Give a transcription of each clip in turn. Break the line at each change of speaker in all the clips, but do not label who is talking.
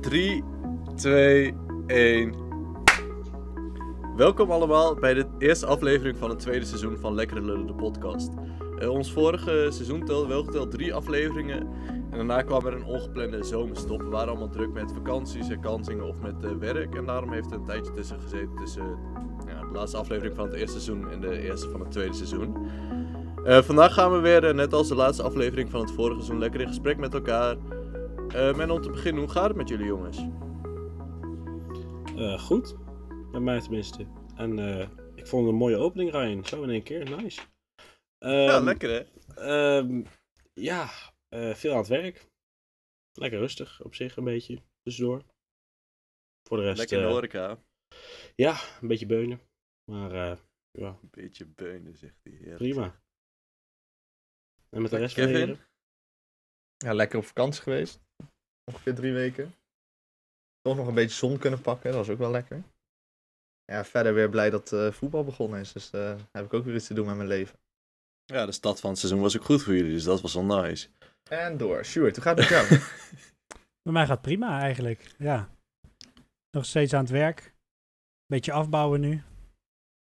3, 2, 1. Welkom allemaal bij de eerste aflevering van het tweede seizoen van Lekkere Lullen, de podcast. Eh, ons vorige seizoen telde wel geteld drie afleveringen. En daarna kwam er een ongeplande zomerstop. We waren allemaal druk met vakanties, herkansingen of met eh, werk. En daarom heeft er een tijdje tussen gezeten tussen ja, de laatste aflevering van het eerste seizoen en de eerste van het tweede seizoen. Eh, vandaag gaan we weer, eh, net als de laatste aflevering van het vorige seizoen, lekker in gesprek met elkaar. Eh, en om te beginnen, hoe gaat het met jullie jongens?
Eh, goed. Bij mij tenminste. En eh, ik vond het een mooie opening, Ryan. Zo in één keer. Nice.
ja,
Ehm,
lekker hè?
ehm, ja, eh, veel aan het werk. Lekker rustig op zich, een beetje. Tussendoor. Voor de rest,
Lekker in de
eh,
horeca.
ja, een beetje beunen. Maar eh, ja,
Een beetje beunen, zegt hij. Heerlijk.
prima. En met
Lekker,
de rest van de
Kevin?
heren?
Ja, lekker op vakantie geweest. Ongeveer drie weken. Toch nog een beetje zon kunnen pakken, dat was ook wel lekker. Ja, verder weer blij dat eh, voetbal begonnen is. Dus eh, heb ik ook weer iets te doen met mijn leven.
Ja, de stad van het seizoen was ook goed voor jullie, dus dat was wel nice.
En door. Sjoerd, hoe gaat het met jou?
Bij mij gaat prima eigenlijk, ja. Nog steeds aan het werk. Beetje afbouwen nu.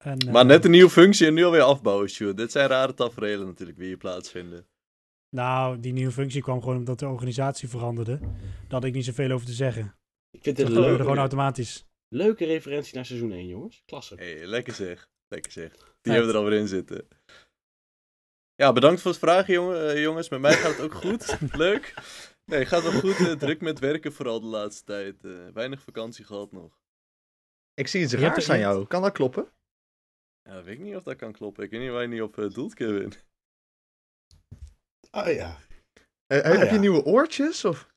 En, eh,
Maar net een nieuwe functie en nu alweer afbouwen, Sjoerd. Dit zijn rare tafereelen natuurlijk, wie hier plaatsvinden.
Nou, die nieuwe functie kwam gewoon omdat de organisatie veranderde. Daar had ik niet zoveel over te zeggen.
Ik vind dit
Dat
een
gebeurde gewoon
leuke,
automatisch.
leuke referentie naar seizoen 1, jongens. Klasse.
Hé, lekker zeg. Lekker zeg. Die
Vet.
hebben er alweer in zitten. Ja, bedankt voor het vragen, jongen, eh, jongens. Met mij gaat het ook goed. Leuk. Nee, gaat wel goed. eh, druk met werken vooral de laatste tijd. eh, weinig vakantie gehad nog.
ik zie iets
Je hebt
raars
er
aan
iets-
jou. Kan dat kloppen?
Ja, weet ik niet of dat kan kloppen. Ik weet niet waar je niet op eh, doelt, Kevin.
Ah ja.
Eh,
Ah,
heb
ja.
je nieuwe oortjes? Of?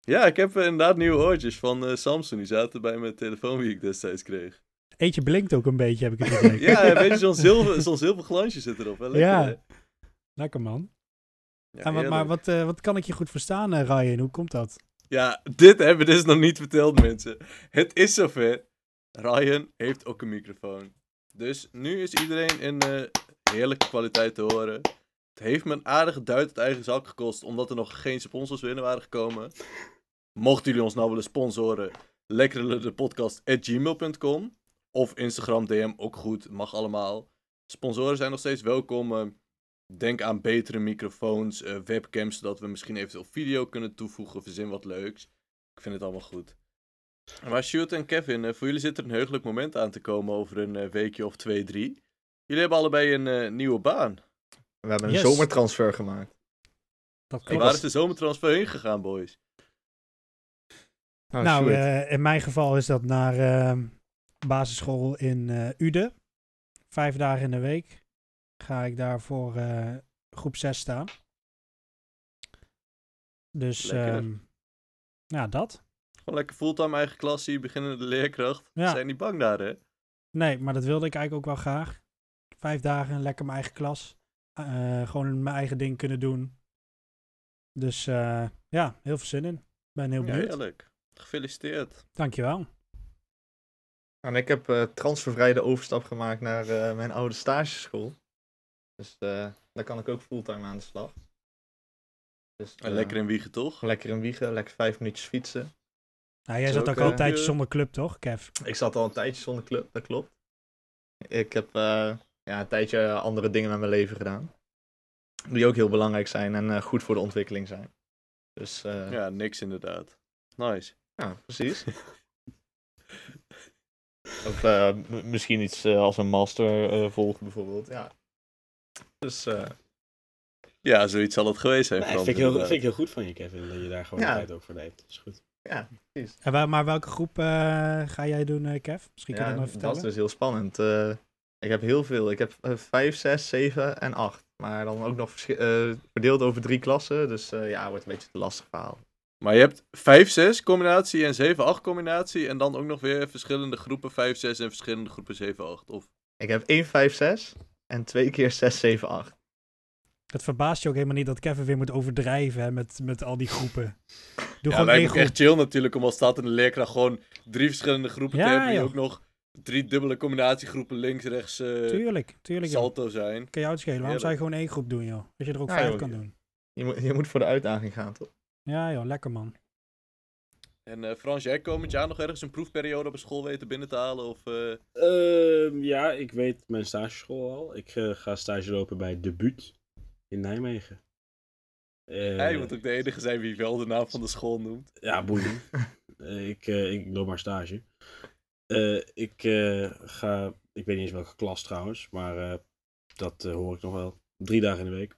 Ja, ik heb eh, inderdaad nieuwe oortjes van eh, Samsung. Die zaten bij mijn telefoon die ik destijds kreeg.
Eentje blinkt ook een beetje, heb ik het idee.
Ja, een beetje zo'n zilver, zo'n zilver glansje zit erop. Hè? Lekker,
Ja.
hè?
Lekker man.
Ja,
en wat, maar
heerlijk.
wat, eh, wat kan ik je goed verstaan, eh, Ryan? Hoe komt dat?
Ja, dit hebben we dus nog niet verteld, mensen. Het is zover. Ryan heeft ook een microfoon. Dus nu is iedereen in eh, heerlijke kwaliteit te horen. Het heeft me een aardige duit uit eigen zak gekost, omdat er nog geen sponsors binnen waren gekomen. Mochten jullie ons nou willen sponsoren, lekkerledepodcast.gmail.com of Instagram DM, ook goed, mag allemaal. Sponsoren zijn nog steeds welkom. eh, Denk aan betere microfoons, eh, webcams, zodat we misschien eventueel video kunnen toevoegen. Verzin wat leuks. Ik vind het allemaal goed. Maar Sjoerd en Kevin, eh, voor jullie zit er een heugelijk moment aan te komen over een eh, weekje of twee, drie. Jullie hebben allebei een eh, nieuwe baan.
We hebben een
Yes.
zomertransfer gemaakt.
Dat
En
klopt.
waar is de zomertransfer heen gegaan, boys? Oh,
Nou,
nou,
Sjoerd.
eh, in mijn geval is dat naar ehm, basisschool in eh Uden. Vijf dagen in de week ga ik daar voor eh, groep 6 staan. Dus
Lekker.
ehm, ja, dat.
Gewoon lekker fulltime eigen klassie, beginnende leerkracht.
Ja.
Zijn niet bang daar, hè?
Nee, maar dat wilde ik eigenlijk ook wel graag. Vijf dagen, lekker mijn eigen klas. Eh, gewoon mijn eigen ding kunnen doen. Dus eh, ja, heel veel zin in. Ben heel
Ja,
benieuwd.
heerlijk. Gefeliciteerd.
Dankjewel.
En ik heb eh transfervrij de overstap gemaakt naar eh, mijn oude stageschool. Dus eh, daar kan ik ook fulltime aan de slag. Dus,
En
eh,
Oh, lekker in Wiegen, toch?
lekker in Wiegen, lekker vijf minuutjes fietsen.
Nou, jij
Zo
zat ook
kun
al
je-
een tijdje zonder club, toch, Kev?
Ik zat al een tijdje zonder club, dat klopt. Ik heb eh, ja, een tijdje andere dingen met mijn leven gedaan. Die ook heel belangrijk zijn en eh, goed voor de ontwikkeling zijn. Dus eh, ja.
Ja, niks inderdaad. Nice.
precies. of eh, m- misschien iets eh, als een master eh, volgen bijvoorbeeld. Ja. Dus eh,
Ja, zoiets zal het geweest zijn.
Nee,
Frans,
vind, ik heel,
inderdaad.
vind ik heel goed van je, Kevin, dat je daar gewoon
Ja.
tijd ook voor neemt. Dat is goed.
En waar- maar welke groep eh, ga jij doen, eh, Kev? Misschien kan je
ja,
dat nog
dat
vertellen.
is dus heel spannend. Eh, ik heb heel veel. Ik heb eh, vijf, zes, zeven en acht. Maar dan ook nog verschi- eh, verdeeld over drie klassen. Dus eh, ja, wordt een beetje te lastig verhaal.
Maar je hebt 5-6 combinatie en 7-8 combinatie. En dan ook nog weer verschillende groepen 5-6 en verschillende groepen 7-8. Of...
Ik heb 1, 5, 6 en twee keer 6, 7, 8.
Het verbaast je ook helemaal niet dat Kevin weer moet overdrijven hè, met, met al die groepen. Doe
Ja,
gewoon één
lijkt me
groep.
echt chill natuurlijk om als staat in de leerkracht gewoon drie verschillende groepen
Ja,
te hebben. Die
joh.
ook nog drie dubbele combinatiegroepen links, rechts, eh
Tuurlijk, tuurlijk. joh.
salto zijn.
Kan jou het schelen? Waarom zou
Heerlijk.
je gewoon één groep doen, joh? Als je er ook
Ja,
vijf
joh,
kan
ja.
doen.
Je moet, je moet voor de uitdaging gaan, toch?
Ja, joh, lekker man.
En eh Frans, jij komend jaar nog ergens een proefperiode op een school weten binnen te halen? Of, eh,
Ehm, ja, ik weet mijn stageschool al. Ik eh, ga stage lopen bij Debuut in Nijmegen. Eh,
Hij moet ook de enige zijn wie wel de naam van de school noemt.
Ja, boeien. Eh, ik, eh, ik loop maar stage. Eh, ik eh, ga, ik weet niet eens welke klas trouwens, maar eh, dat eh, hoor ik nog wel. Drie dagen in de week.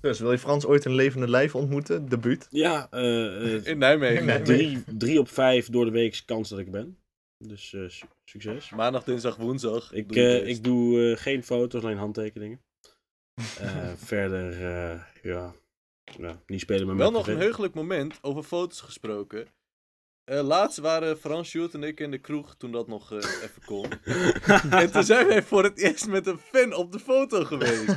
Dus wil je Frans ooit een levende lijf ontmoeten? Debuut.
Ja, eh, eh,
In Nijmegen.
Nee.
drie, drie op vijf door de week kans dat ik er ben. Dus eh, su- succes.
Maandag, dinsdag, woensdag.
Ik,
doe je
eh,
best.
ik doe eh, geen foto's, alleen handtekeningen. Eh, verder, eh, ja. ja, niet spelen met
Wel
mijn
nog een
privé.
heugelijk moment over foto's gesproken. Eh, laatst waren Frans Sjoerd en ik in de kroeg toen dat nog eh, even kon. en toen zijn wij voor het eerst met een fan op de foto geweest.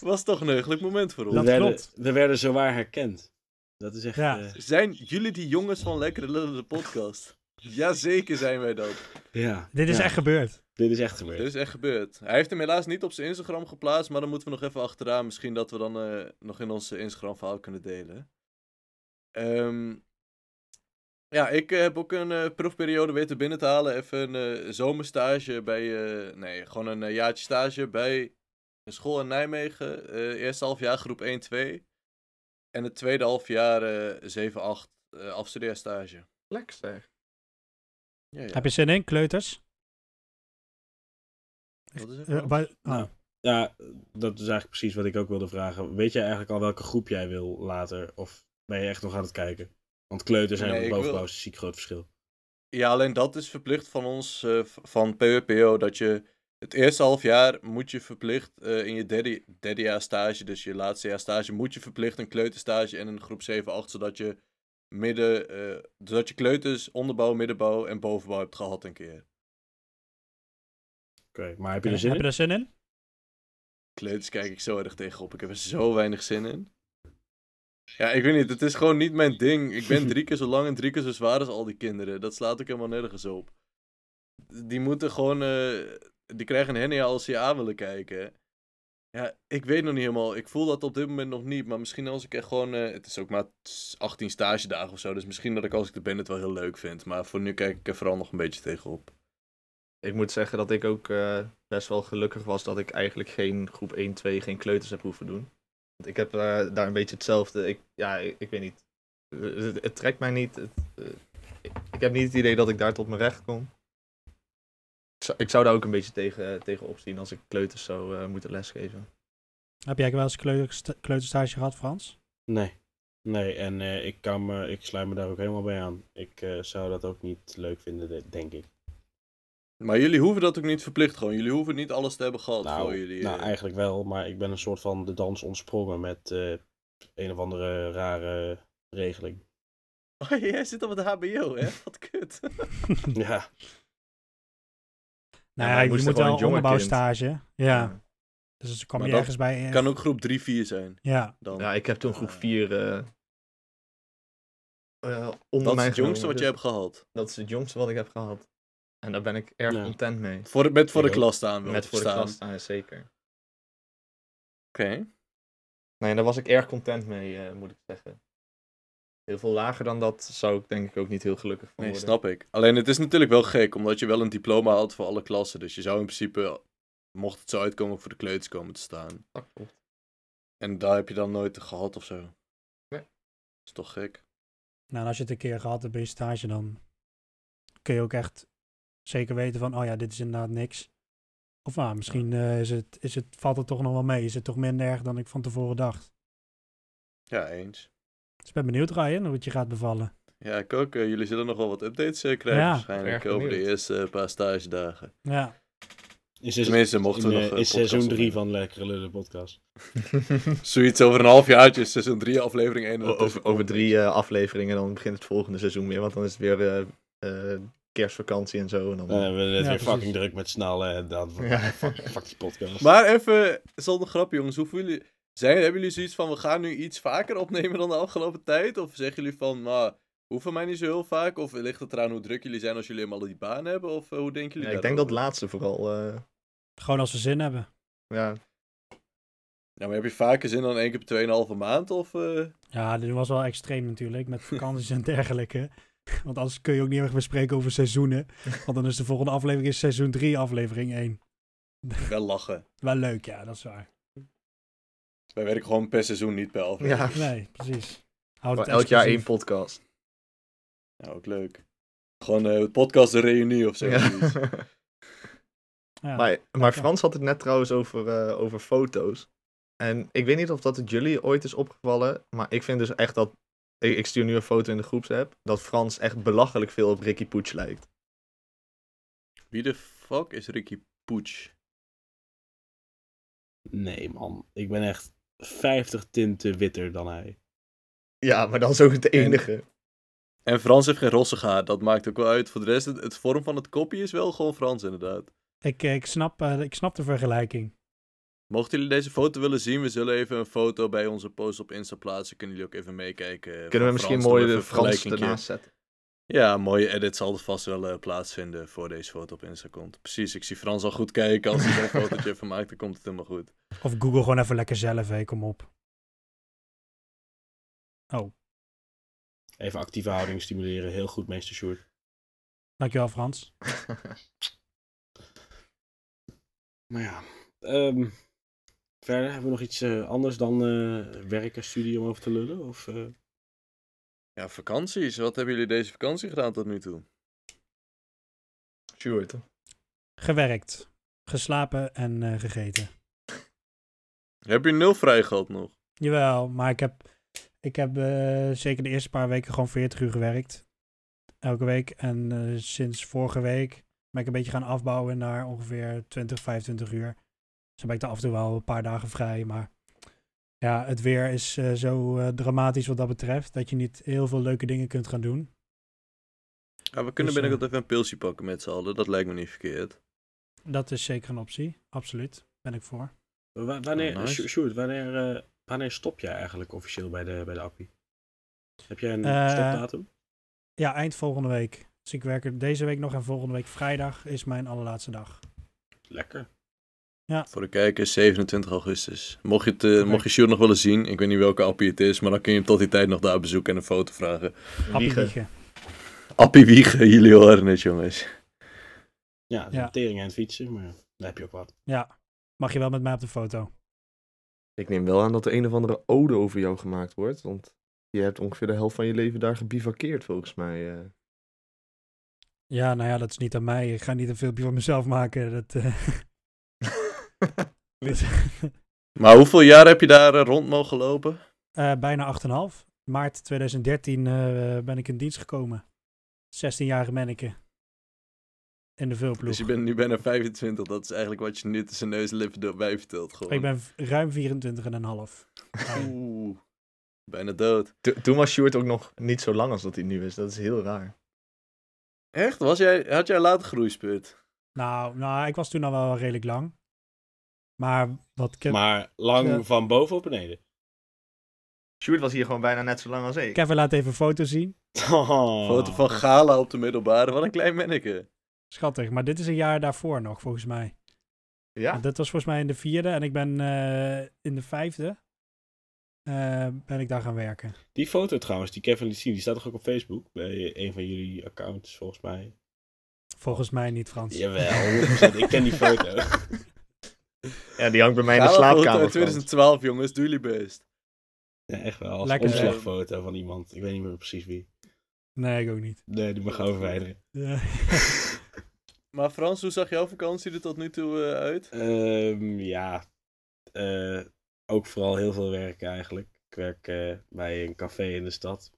Was toch een heugelijk moment voor ons.
we,
Dat
werden,
klopt.
we werden zowaar herkend. Dat is echt...
Ja.
eh,
Zijn jullie die jongens van Lekkere Lullen de podcast? Jazeker zijn wij dat.
ja.
Dit is
Ja,
echt gebeurd.
Dit is echt gebeurd.
Dit is echt gebeurd. Hij heeft hem helaas niet op zijn Instagram geplaatst, maar dan moeten we nog even achteraan. Misschien dat we dan eh, nog in ons Instagram verhaal kunnen delen. Ehm, ja, ik eh, heb ook een eh, proefperiode weten binnen te halen. Even een eh, zomerstage bij, eh, nee, gewoon een eh, jaartje stage bij een school in Nijmegen. Eh eerste half jaar groep 1-2 en het tweede half jaar eh 7-8 eh, afstudeerstage.
Lekker zeg.
Ja, ja.
Heb je zin in, kleuters?
Wat is het
Eh,
nou?
wa- oh.
Nou. Ja, dat is eigenlijk precies wat ik ook wilde vragen. Weet jij eigenlijk al welke groep jij wil later? Of ben je echt nog aan het kijken? Want kleuters en
Nee, ik wil-
bovenbouw is een ziek groot verschil.
Ja, alleen dat is verplicht van ons, eh, v- van PWPO, dat je het eerste half jaar moet je verplicht eh, in je derde, derde jaar stage, dus je laatste jaar stage, moet je verplicht een kleuterstage en een groep 7-8, zodat je midden, eh, zodat je kleuters, onderbouw, middenbouw en bovenbouw hebt gehad een keer.
Oké, maar heb je er zin
Eh, nou, heb
in?
je daar zin in?
Kleuters kijk ik zo erg tegenop, ik heb er zo weinig zin in. Ja, ik weet niet, het is gewoon niet mijn ding. Ik ben drie keer zo lang en drie keer zo zwaar als al die kinderen. Dat slaat ook helemaal nergens op. Die moeten gewoon, eh, die krijgen een hernia als ze aan willen kijken. Ja, ik weet nog niet helemaal. Ik voel dat op dit moment nog niet. Maar misschien als ik echt gewoon, eh, het is ook maar 18 stage dagen of zo. Dus misschien dat ik als ik er ben het wel heel leuk vind. Maar voor nu kijk ik er vooral nog een beetje tegenop.
Ik moet zeggen dat ik ook eh, best wel gelukkig was dat ik eigenlijk geen groep 1, 2, geen kleuters heb hoeven doen. Want ik heb eh, daar een beetje hetzelfde. Ik, ja, ik, ik weet niet. Eh, Het, het trekt mij niet. Het, eh, ik, ik heb niet het idee dat ik daar tot mijn recht kom. Ik zou, ik zou daar ook een beetje tegen, tegen opzien als ik kleuters zou eh, moeten lesgeven.
Heb jij wel eens kleutersta- kleuterstage gehad, Frans?
Nee. Nee, en eh, ik, kan me, ik sluit me daar ook helemaal bij aan. Ik eh, zou dat ook niet leuk vinden, de- denk ik.
Maar jullie hoeven dat ook niet verplicht gewoon. Jullie hoeven niet alles te hebben gehad voor
nou,
jullie.
nou,
eh,
eigenlijk wel, maar ik ben een soort van de dans ontsprongen met eh, een of andere rare regeling.
Oh, jij zit op het HBO, hè? Wat kut.
Hm.
Ja,
Nou
Ja,
ja,
maar
je
moest
moet
gewoon
wel
een jonger
onderbouwstage. Ja,
Eh,
dus dan kwam
Maar
je
dat
ergens bij. eh,
Kan ook groep 3, 4 zijn.
Ja,
Dan.
Ja, ik heb toen groep
Ah.
4 eh eh, onder
dat is
mij
het jongste wat
genomen,
je
dus
hebt gehad.
Dat is het jongste wat ik heb gehad. En daar ben ik erg
Ja.
content mee.
Voor, de- met voor de
Ik
klas staan. wil
Met
ik
voor de
verstaan.
klas staan, zeker.
Oké.
Nee, daar was ik erg content mee, eh, moet ik zeggen. Heel veel lager dan dat zou ik denk ik ook niet heel gelukkig van
Nee,
worden.
snap ik. Alleen het is natuurlijk wel gek, omdat je wel een diploma had voor alle klassen. Dus je zou in principe, mocht het zo uitkomen, voor de kleuters komen te staan.
Dat klopt.
En daar heb je dan nooit gehad of zo.
Nee.
is toch gek.
nou en als je het een keer gehad hebt bij je stage, dan kun je ook echt zeker weten van, oh ja, dit is inderdaad niks. Of nou, misschien eh, is het, is het, valt het toch nog wel mee. Is het toch minder erg dan ik van tevoren dacht.
Ja, eens.
Dus ik ben benieuwd, Ryan, hoe het je gaat bevallen.
Ja, ik ook. eh, jullie zullen nog wel wat updates eh, krijgen
Ja.
waarschijnlijk
Erg
over de
benieuwd.
eerste eh, paar stage dagen.
Ja,
is,
Tenminste, mochten we nog...
in, eh,
eh,
is
podcast
seizoen 3
opnemen.
van Lekkere Lullen podcast.
Zoiets over een half jaartje, seizoen 3, aflevering 1.
O- over, over drie eh, afleveringen dan begint het volgende seizoen weer. Want dan is het weer eh, eh, kerstvakantie en zo. En dan...
Dan
Eh,
hebben Eh, we het
Ja,
weer
precies.
fucking druk met snallen en dan
Ja.
fuck, fuck die podcast.
Maar even, zonder grap jongens, hoeveel jullie... Zijn, hebben jullie zoiets van, we gaan nu iets vaker opnemen dan de afgelopen tijd? Of zeggen jullie van, nou, hoeven mij niet zo heel vaak? Of ligt het eraan hoe druk jullie zijn als jullie helemaal die baan hebben? Of eh, hoe denken jullie
Ja, ik denk dat
daarover?
laatste vooral. eh,
gewoon als we zin hebben.
ja,
Ja, maar heb je vaker zin dan één keer per 2,5 maand? Of, eh,
Ja, dit was wel extreem natuurlijk, met vakanties en dergelijke. Want anders kun je ook niet erg meer spreken over seizoenen. Want dan is de volgende aflevering is seizoen 3, aflevering 1.
Wel lachen.
Wel leuk, ja, dat is waar.
Wij werken gewoon per seizoen, niet per aflevering.
Ja,
Nee, precies.
Maar
Houd het
elk jaar één
exclusief.
podcast.
Nou, ook leuk. Gewoon een podcast een reunie of zo.
Ja.
zoiets.
Ja.
Maar, maar
ja.
Frans had het net trouwens over, eh, over foto's. En ik weet niet of dat het jullie ooit is opgevallen, maar ik vind dus echt dat... Ik, ik stuur nu een foto in de groepsapp, dat Frans echt belachelijk veel op Ricky Poets lijkt.
Wie de fuck is Ricky Poech?
Nee, man. Ik ben echt 50 tinten witter dan hij.
Ja, maar dat is ook het enige.
En Frans heeft geen rossig haar, dat maakt ook wel uit. Voor de rest, het, het vorm van het kopje is wel gewoon Frans inderdaad.
Ik, ik, snap, eh, ik snap de vergelijking.
Mochten jullie deze foto willen zien, we zullen even een foto bij onze post op Insta plaatsen. Kunnen jullie ook even meekijken. eh, van
Kunnen we misschien
Frans,
mooi
doen we
de
even
Frans
vergelijkingje.
ernaast zetten.
Ja, een mooie edit zal er vast wel eh, plaatsvinden voor deze foto op Insta komt. Precies, ik zie Frans al goed kijken. Als hij zo'n fotootje even maakt, dan komt het helemaal goed.
Of Google gewoon even lekker zelf, hé, kom op.
Even actieve houding stimuleren. Heel goed, meester Sjoerd.
Dankjewel, Frans.
Maar ja. ehm, verder, hebben we nog iets eh, anders dan eh, werk en studie om over te lullen? Of, eh,
Ja, vakanties. Wat hebben jullie deze vakantie gedaan tot nu toe?
Sjoerd.
Gewerkt, geslapen en eh, gegeten.
Heb je nul vrij gehad nog?
Jawel, maar ik heb, ik heb eh, zeker de eerste paar weken gewoon 40 uur gewerkt. Elke week. En eh, sinds vorige week ben ik een beetje gaan afbouwen naar ongeveer 20, 25 uur. Dus dan ben ik er af en toe wel een paar dagen vrij. Maar ja, het weer is eh, zo eh, dramatisch wat dat betreft. Dat je niet heel veel leuke dingen kunt gaan doen.
Ja, we
eh,
kunnen
Dus,
binnenkort even een pilsje pakken met z'n allen. Dat lijkt me niet verkeerd.
Dat is zeker een optie. Absoluut. Ben ik voor.
wa- wanneer,
Oh, nice.
Sjo- Sjoerd, wanneer, eh, wanneer stop jij eigenlijk officieel bij de, bij de appie? Heb jij een
Eh,
stopdatum?
Ja, eind volgende week. Dus ik werk er deze week nog en volgende week vrijdag is mijn allerlaatste dag.
Lekker.
Voor de kijkers, 27 augustus. Mocht je, het, eh,
Oké.
mocht je Sjoerd nog willen zien, ik weet niet welke appie het is, maar dan kun je hem tot die tijd nog daar bezoeken en een foto vragen.
Happy
Wiegen.
wiegen.
Appie Wiegen, jullie horen het jongens.
Ja, het is
Ja.
een tering aan het fietsen, maar daar heb je ook wat.
Ja. Mag je wel met mij op de foto?
Ik neem wel aan dat er een of andere ode over jou gemaakt wordt. Want je hebt ongeveer de helft van je leven daar gebivakkeerd, volgens mij. eh.
Ja, nou ja, dat is niet aan mij. Ik ga niet een filmpje van mezelf maken. Dat, eh, dat-
Maar hoeveel jaar heb je daar eh, rond mogen lopen?
Eh, bijna 8,5. Maart 2013 eh, ben ik in dienst gekomen. 16-jarige manneke. In de vulploeg.
Dus je bent nu bijna 25, dat is eigenlijk wat je nu tussen neus en lippen doorbij vertelt gewoon.
Ik ben v- ruim 24,5.
Oeh, bijna dood.
Toen- Toen was Sjoerd ook nog niet zo lang als dat hij nu is. Dat is heel raar.
Echt? Was jij, had jij later groeispurt?
Nou, nou, ik was toen al wel redelijk lang. Maar wat ik heb...
Maar lang
Ja.
van boven op beneden.
Sjoerd was hier gewoon bijna net zo lang als ik.
Kevin laat even een foto zien.
Oh.
Foto van Gala op de middelbare, wat een klein manneke.
Schattig, maar dit is een jaar daarvoor nog, volgens mij.
Ja,
Want Dat was volgens mij in de vierde en ik ben eh, in de vijfde eh, ben ik daar gaan werken.
Die foto trouwens, die Kevin liet zien, die staat toch ook op Facebook? Bij een van jullie accounts, volgens mij.
Volgens mij niet, Frans.
Jawel, 100%. ik ken die foto.
ja die hangt bij mij in de
Gala foto
slaapkamer.
uit
Frans.
2012 jongens, doe jullie best.
Ja, echt wel, als
Lekker, hè?
omslagfoto van iemand. Ik weet niet meer precies wie.
Nee, ik ook niet. Eh,
Nee, die mag gauw verwijderen.
Ja.
Maar Frans, hoe zag jouw vakantie er tot nu toe eh, uit?
Ehm, ja, Eh, ook vooral heel veel werk eigenlijk. Ik werk eh, bij een café in de stad.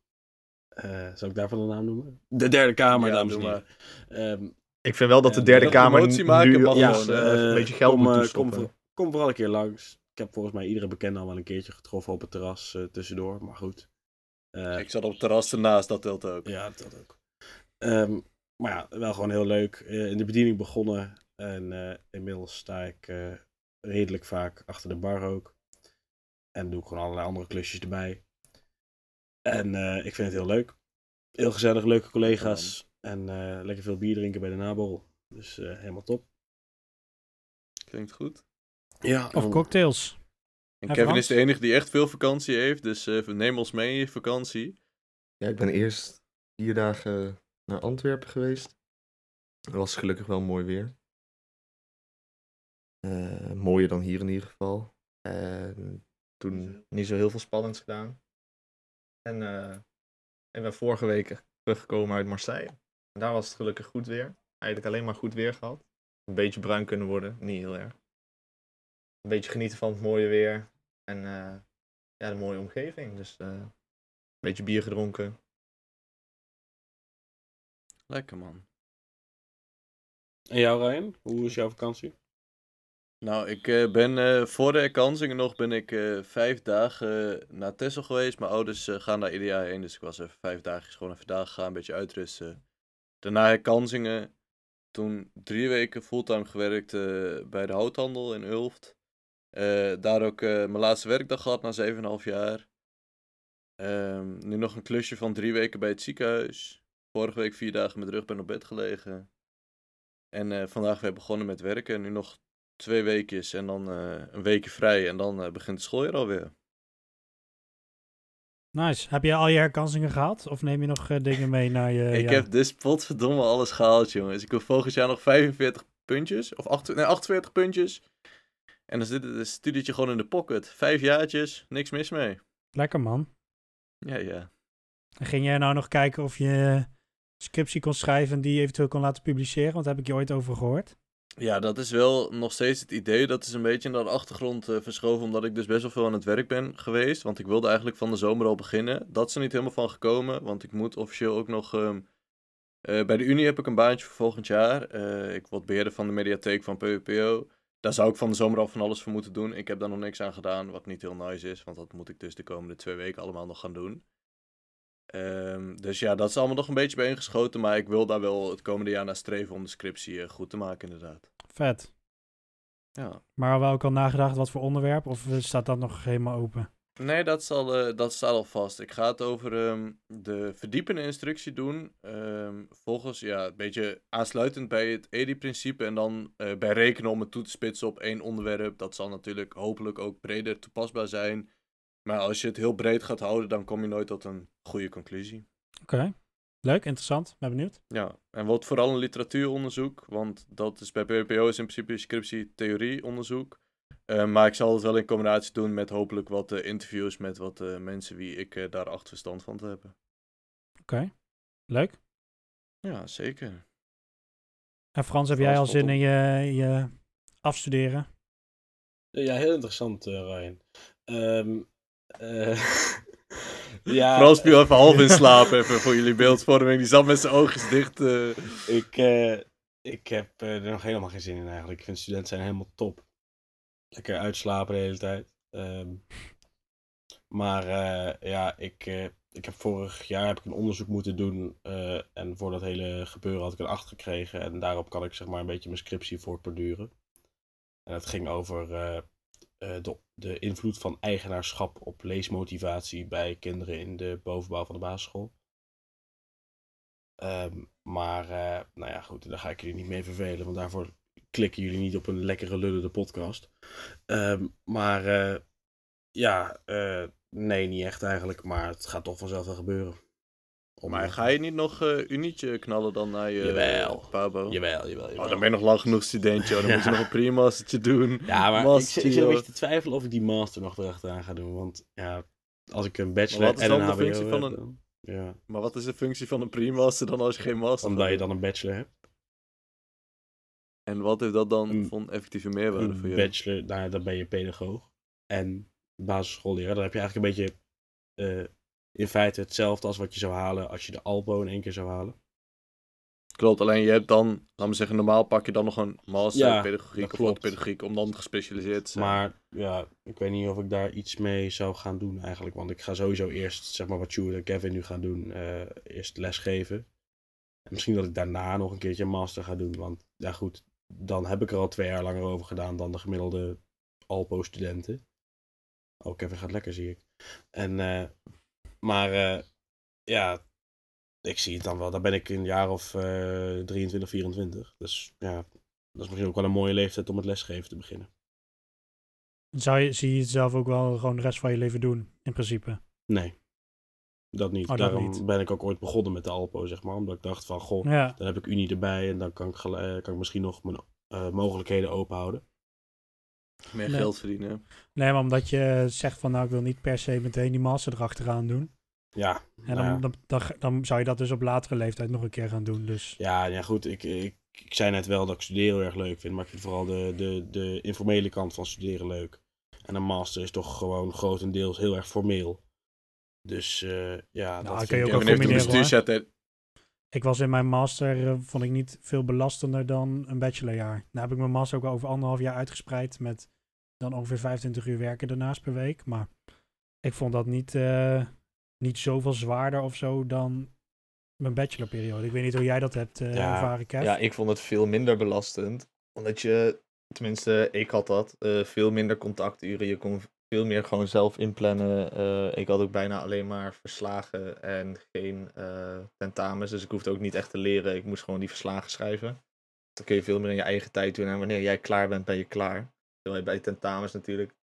Eh, zal ik daarvan de naam noemen? De derde kamer,
Ja,
dames en
doe
heren. Ehm,
Ik vind wel dat de
Ja,
derde
wil
kamer
promotie maken,
nu
mag
ons,
Ja,
eh,
gewoon,
eh,
een beetje geld
kom,
moet
eh,
toestoppen.
Kom, voor- kom vooral een keer langs. Ik heb volgens mij iedere bekende al wel een keertje getroffen op het terras eh, tussendoor, maar goed. Eh,
Ik zat op het terras ernaast, dat telt ook.
ja, dat ook. Ehm, maar ja, wel gewoon heel leuk. Eh, in de bediening begonnen en eh, inmiddels sta ik eh, redelijk vaak achter de bar ook. En doe ik gewoon allerlei andere klusjes erbij. En eh, ik vind het heel leuk. Heel gezellig, leuke collega's. En eh, lekker veel bier drinken bij de naborrel. Dus eh, helemaal top.
Klinkt goed.
Ja,
Of cocktails.
En
Ja,
Kevin
Frans?
is de enige die echt veel vakantie heeft, dus eh, neem ons mee in je vakantie.
Ja, ik ben eerst vier dagen naar Antwerpen geweest. Het was gelukkig wel mooi weer. Eh, mooier dan hier in ieder geval. En toen,
Niet zo heel veel spannends gedaan. En, eh ik ben vorige week teruggekomen uit Marseille. En daar was het gelukkig goed weer. Eigenlijk alleen maar goed weer gehad. Een beetje bruin kunnen worden, niet heel erg. Een beetje genieten van het mooie weer. En eh, ja, de mooie omgeving. Dus eh, een beetje bier gedronken.
Lekker man.
En jou, Ryan? Hoe is jouw vakantie?
Nou, ik eh, ben eh, voor de herkansingen nog ben ik eh, vijf dagen eh, naar Texel geweest. Mijn ouders eh, gaan daar ieder jaar heen, dus ik was even vijf dagen gewoon even daar gegaan, een beetje uitrusten. Daarna herkansingen, toen drie weken fulltime gewerkt eh, bij de houthandel in Ulft. Eh, daar ook eh, mijn laatste werkdag gehad na 7,5 jaar. Ehm, nu nog een klusje van drie weken bij het ziekenhuis. Vorige week vier dagen met rug ben op bed gelegen. En eh, vandaag weer begonnen met werken. Nu nog twee weekjes en dan eh, een weekje vrij en dan eh, begint het schooljaar alweer.
Nice. Heb je al je herkansingen gehad? Of neem je nog eh, dingen mee naar je...
ik
ja,
heb dus potverdomme alles gehaald, jongens. Ik wil volgend jaar nog 45 puntjes, of acht, nee, 48 puntjes. En dan zit het studietje gewoon in de pocket. Vijf jaartjes, niks mis mee.
Lekker man.
Ja, ja.
En ging jij nou nog kijken of je scriptie kon schrijven en die je eventueel kon laten publiceren? Want daar heb ik je ooit over gehoord.
Ja, dat is wel nog steeds het idee. Dat is een beetje naar de achtergrond eh, verschoven, omdat ik dus best wel veel aan het werk ben geweest. Want ik wilde eigenlijk van de zomer al beginnen. Dat is er niet helemaal van gekomen, want ik moet officieel ook nog... ehm, eh, bij de Unie heb ik een baantje voor volgend jaar. Eh, ik word beheerder van de mediatheek van PWPO. Daar zou ik van de zomer al van alles voor moeten doen. Ik heb daar nog niks aan gedaan, wat niet heel nice is. Want dat moet ik dus de komende twee weken allemaal nog gaan doen. Ehm, dus ja, dat is allemaal nog een beetje bijeengeschoten. Maar ik wil daar wel het komende jaar naar streven om de scriptie eh, goed te maken, inderdaad.
Vet.
Ja.
Maar wel ook al nagedacht wat voor onderwerp? Of eh, staat dat nog helemaal open?
Nee, dat, zal, eh, dat staat al vast. Ik ga het over ehm, de verdiepende instructie doen. ehm, volgens, ja, een beetje aansluitend bij het EDI-principe. En dan eh, bij rekenen om het toe te spitsen op één onderwerp. Dat zal natuurlijk hopelijk ook breder toepasbaar zijn. Maar als je het heel breed gaat houden, dan kom je nooit tot een goede conclusie.
Oké. Leuk, interessant. Ben benieuwd.
Ja, en wordt vooral een literatuuronderzoek, want dat is bij PWPO is in principe scriptie theorieonderzoek. Eh, maar ik zal het wel in combinatie doen met hopelijk wat eh, interviews met wat eh, mensen wie ik eh, daar acht verstand van te hebben.
Oké. Leuk.
Ja, zeker.
En Frans, heb
Frans,
jij al
spot
zin
op.
in je, je afstuderen?
Ja, heel interessant, eh, Ryan. Ehm, eh, ja,
Frans viel even half in slaap even voor jullie beeldvorming. Die zat met zijn oogjes dicht. eh.
Ik, eh, ik heb eh, er nog helemaal geen zin in eigenlijk. Ik vind studenten zijn helemaal top. Lekker uitslapen de hele tijd. Ehm, maar eh, ja, ik, eh, ik heb vorig jaar heb ik een onderzoek moeten doen. eh, en voor dat hele gebeuren had ik een acht gekregen. En daarop kan ik zeg maar een beetje mijn scriptie voortborduren. En dat ging over eh, eh, de, de invloed van eigenaarschap op leesmotivatie bij kinderen in de bovenbouw van de basisschool. Ehm, maar, eh, nou ja, goed, daar ga ik jullie niet mee vervelen, want daarvoor klikken jullie niet op een lekkere lullende podcast. Ehm, maar, eh, ja, eh, nee, niet echt eigenlijk, maar het gaat toch vanzelf wel gebeuren. Om-
Maar ga je niet nog eh unietje knallen dan naar je eh,
Jawel.
Pabo?
Jawel, jawel, jawel.
Oh, dan ben je nog lang genoeg studentje. Dan moet je
Ja.
nog een primastertje doen.
Ja, maar ik,
Master,
zit- ik zit een
joh.
beetje te twijfelen of ik die master nog erachteraan ga doen, want ja, als ik een bachelor
Maar wat is
en
dan
een
de
HBO
functie van
heb,
een-
dan- Ja,
Maar wat is de functie van een primaster dan als je geen master
omdat je
hebt?
dan een bachelor hebt.
En wat heeft dat dan
Een-
van effectieve meerwaarde voor
een
jou?
bachelor, nou, ja, dan ben je pedagoog. En basisschoolleraar, dan heb je eigenlijk een beetje eh, in feite hetzelfde als wat je zou halen als je de Albo in één keer zou halen.
Klopt, alleen je hebt dan, laat me zeggen, normaal pak je dan nog een master
Ja,
pedagogiek
dat
of
klopt.
wat pedagogiek om dan gespecialiseerd te zijn.
Maar ja, ik weet niet of ik daar iets mee zou gaan doen eigenlijk. Want ik ga sowieso eerst, zeg maar wat Sjoerd en Kevin nu gaan doen, eh, eerst lesgeven. En misschien dat ik daarna nog een keertje een master ga doen. Want ja goed, dan heb ik er al twee jaar langer over gedaan dan de gemiddelde Alpo-studenten. Oh, Kevin gaat lekker, zie ik. En, eh, maar eh, ja, ik zie het dan wel. Dan ben ik in een jaar of eh 23, 24. Dus ja, dat is misschien ook wel een mooie leeftijd om het lesgeven te beginnen.
Zou je, zie je het zelf ook wel gewoon de rest van je leven doen, in principe?
Nee. Dat niet.
Oh, dat
Daarom
niet.
ben ik ook ooit begonnen met de Alpo, zeg maar. Omdat ik dacht van, goh,
Ja,
dan heb ik Unie erbij en dan kan ik, gel- eh, kan ik misschien nog mijn eh, mogelijkheden openhouden.
Meer
Nee.
geld verdienen.
nee, maar omdat je zegt van nou, ik wil niet per se meteen die master erachteraan doen.
Ja,
En
nou ja.
dan, dan, dan, dan zou je dat dus op latere leeftijd nog een keer gaan doen. Dus
Ja, ja goed, ik, ik, ik zei net wel dat ik studeren heel erg leuk vind, maar ik vind vooral de, de, de informele kant van studeren leuk. En een master is toch gewoon grotendeels heel erg formeel. Dus eh, ja,
Nou,
dat
kun je
vind
ook
Kevin heeft
ik
wel
een
combineren, hoor.
bestuursjaar te-
ik was in mijn master, eh, vond ik niet veel belastender dan een bachelorjaar. Nou heb ik mijn master ook over anderhalf jaar uitgespreid met dan ongeveer 25 uur werken daarnaast per week. Maar ik vond dat niet, eh, niet zoveel zwaarder of zo dan mijn bachelorperiode. Ik weet niet hoe jij dat hebt eh,
Ja,
ervaren, Kev.
Ja, ik vond het veel minder belastend. Omdat je, tenminste, ik had dat, eh, veel minder contacturen. Je kon veel meer gewoon zelf inplannen. Eh, ik had ook bijna alleen maar verslagen en geen eh, tentamens. Dus ik hoefde ook niet echt te leren. Ik moest gewoon die verslagen schrijven. Dan kun je veel meer in je eigen tijd doen. En wanneer jij klaar bent, ben je klaar. Terwijl je bij tentamens natuurlijk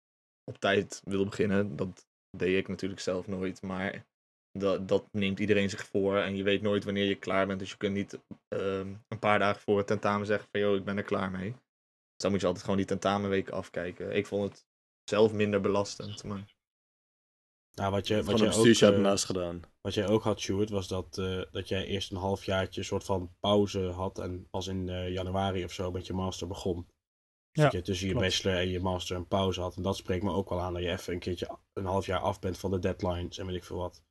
op tijd wil beginnen. Dat deed ik natuurlijk zelf nooit. Maar dat, dat neemt iedereen zich voor. En je weet nooit wanneer je klaar bent. Dus je kunt niet ehm, een paar dagen voor het tentamen zeggen van, joh, ik ben er klaar mee. Dus dan moet je altijd gewoon die tentamenweken afkijken. Ik vond het zelf minder belastend, maar...
Nou, wat je,
Van
wat
een
je ook,
bestuursjaar
eh,
ernaast gedaan.
Wat jij ook had, Stuart, was dat, eh, dat jij eerst een halfjaartje een soort van pauze had. En pas in eh, januari of zo met je master begon. Dus
Ja,
dat je tussen je
klopt.
bachelor en je master een pauze had. En dat spreekt me ook wel aan dat je even een keertje een half jaar af bent van de deadlines en weet ik veel wat.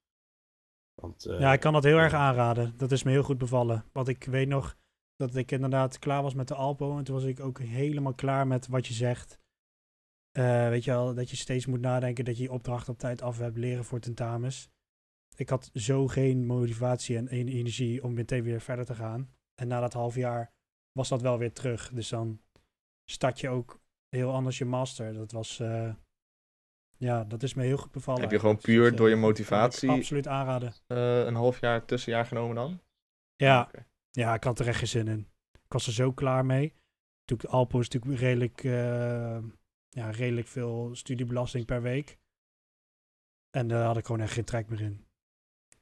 Want, eh,
Ja, ik kan dat heel
ja.
erg aanraden. Dat is me heel goed bevallen. Want ik weet nog dat ik inderdaad klaar was met de Alpo. En toen was ik ook helemaal klaar met wat je zegt. Eh, weet je wel, dat je steeds moet nadenken dat je je opdracht op tijd af hebt leren voor tentamens. Ik had zo geen motivatie en en energie om meteen weer verder te gaan. En na dat half jaar was dat wel weer terug. Dus dan start je ook heel anders je master. Dat was, eh, ja, dat is me heel goed bevallen.
Heb je gewoon
eigenlijk. Dus
puur
dat,
door je
eh, kan ik
motivatie- eh,
Absoluut aanraden.
een half jaar tussenjaar genomen dan?
Ja, ja, ik had er echt geen zin in. Ik was er zo klaar mee. Natuurlijk, Alpo is natuurlijk redelijk, eh, ja, redelijk veel studiebelasting per week. En daar had ik gewoon echt geen trek meer in.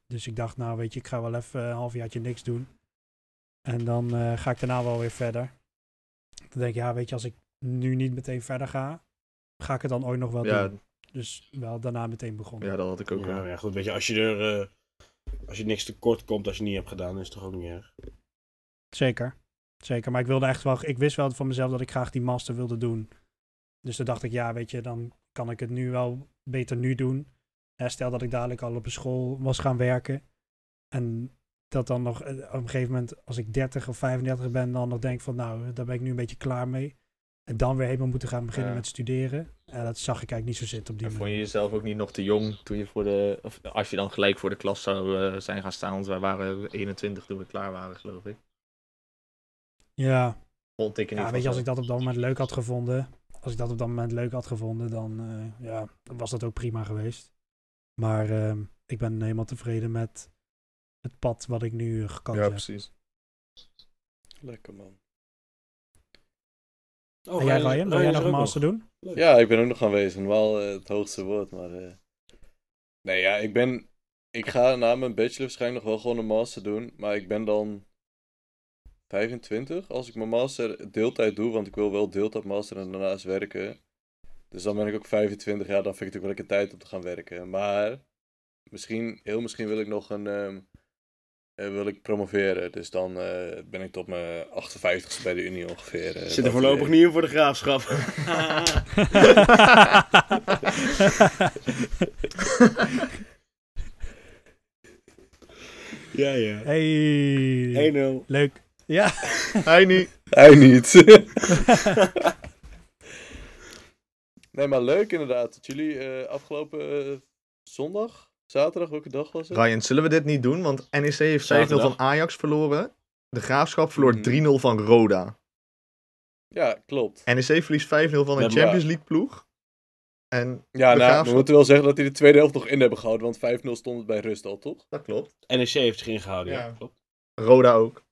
Dus ik dacht, nou weet je, ik ga wel even een halfjaartje niks doen. En dan eh, ga ik daarna wel weer verder. Dan denk ik, ja weet je, als ik nu niet meteen verder ga, ga ik het dan ooit nog wel
Ja,
doen. Dus wel daarna meteen begonnen.
ja, dat had ik ook
ja,
wel.
maar ja, goed, weet je, als je er eh, als je niks tekort komt als je het niet hebt gedaan, dan is het toch ook niet erg.
Zeker. Zeker. Maar ik wilde echt wel. Ik wist wel van mezelf dat ik graag die master wilde doen. Dus toen dacht ik, ja, weet je, dan kan ik het nu wel beter nu doen. Hè, stel dat ik dadelijk al op een school was gaan werken. En dat dan nog eh, op een gegeven moment, als ik 30 of 35 ben, dan nog denk van, nou, daar ben ik nu een beetje klaar mee. En dan weer helemaal moeten gaan beginnen
Ja.
met studeren. En dat zag ik eigenlijk niet zo zitten op die
En vond
manier.
je jezelf ook niet nog te jong toen je voor de... Of als je dan gelijk voor de klas zou eh, zijn gaan staan, want wij waren 21 toen we klaar waren, geloof ik.
Ja.
Vond ik in
Ja,
ieder
weet je,
geval
als ik
zo.
dat op dat moment leuk had gevonden, als ik dat op dat moment leuk had gevonden, dan eh, ja, dan was dat ook prima geweest. Maar ehm, ik ben helemaal tevreden met het pad wat ik nu eh, gekant heb.
precies.
Lekker man.
Oh,
en jij Ryan, wil jij nog een master doen?
Ja, ik ben ook nog aanwezig. Wel eh, het hoogste woord, maar... eh, Nee, ja, ik ben... Ik ga na mijn bachelor waarschijnlijk nog wel gewoon een master doen. Maar ik ben dan 25 als ik mijn master deeltijd doe. Want ik wil wel deeltijd master en daarnaast werken. Dus dan ben ik ook 25 jaar. Dan vind ik natuurlijk wel lekker tijd om te gaan werken. Maar misschien, heel misschien wil ik nog een... ehm, eh, wil ik promoveren. Dus dan eh, ben ik tot mijn 58ste bij de Unie ongeveer. eh,
Zit er
dat
voorlopig
idee.
niet in voor de graafschap. ja, ja.
hey,
1-0.
leuk. Ja,
Hij niet.
Hij niet. Nee, maar leuk inderdaad. Dat jullie eh, afgelopen eh, zondag, zaterdag, welke dag was het?
Ryan, zullen we dit niet doen? Want NEC heeft 5-0 van
Zaterdag.
Ajax verloren. De Graafschap verloor
Mhm.
3-0 van Roda.
Ja, klopt.
NEC verliest 5-0 van een
maar-
Champions League ploeg. En
Ja,
De
nou, we
Graafschap.
moeten wel zeggen dat hij de tweede helft nog in hebben gehouden, want 5-0 stond het bij rust al, toch?
dat klopt.
NEC E heeft zich ingehouden, ja.
Ja.
klopt.
Roda ook.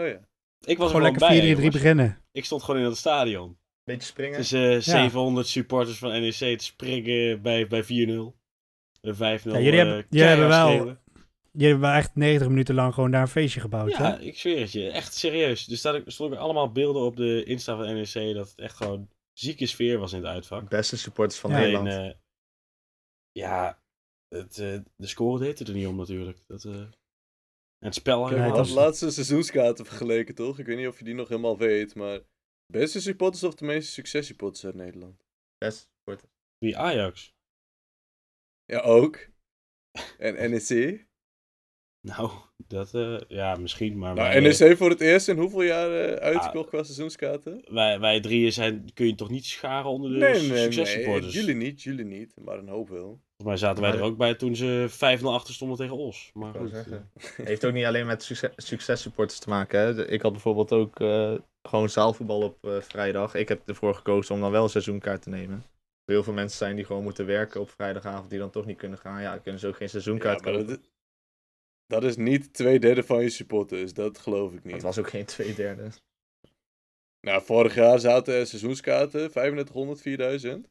Oh ja.
Ik was
gewoon
er
lekker
gewoon bij,
4-3
jongens.
beginnen.
Ik stond gewoon in het stadion.
Beetje springen.
E Tussen eh, 700 supporters van NEC te springen bij, bij 4-0. De 5-0.
Ja, jullie hebben-
eh,
jullie hebben
keihard
wel-
schreeuwen.
Jullie hebben wel echt 90 minuten lang gewoon daar een feestje gebouwd, hè?
Ja, ik zweer het je. Echt serieus. Dus daar stonden ook allemaal beelden op de Insta van NEC dat het echt gewoon zieke sfeer was in het uitvak.
Beste supporters van
Ja.
Alleen,
Nederland.
eh, ja, het, eh, de score deed het er niet om natuurlijk. Dat, eh, en het spel
Nee,
We
helemaal.
dat is-
hadden laatste seizoenskaarten vergeleken, toch? Ik weet niet of je die nog helemaal weet, maar... Beste supporters of de meeste successupporters uit Nederland?
Beste supporters.
Wie Ajax?
Ja, ook. En E NEC?
Nou, dat, eh, ja, misschien, maar wij,
Nou,
E
eh,
NEC voor het eerst in hoeveel jaar eh, uitverkocht qua seizoenskaarten?
wij, wij drieën zijn, kun je toch niet scharen onder de
Nee, nee, nee.
successupporters?
Jullie niet, jullie niet. Maar een hoop wel.
Volgens mij zaten wij
Maar-
er ook bij toen ze 5-0 achter stonden tegen Os. Maar
wou
goed,
zeggen.
eh,
Heeft ook niet alleen met succes, successupporters te maken. Hè? De- Ik had bijvoorbeeld ook eh, gewoon zaalvoetbal op eh, vrijdag. Ik heb ervoor gekozen om dan wel een seizoenkaart te nemen. Er heel veel mensen zijn die gewoon moeten werken op vrijdagavond, die dan toch niet kunnen gaan. Ja, dan kunnen ze ook geen seizoenkaart
Ja, maar
kopen.
dat, dat is niet twee derde van je supporters, dat geloof ik niet.
Het was ook geen twee derde.
Nou, vorig jaar zaten er seizoenskaarten 3500, 4000.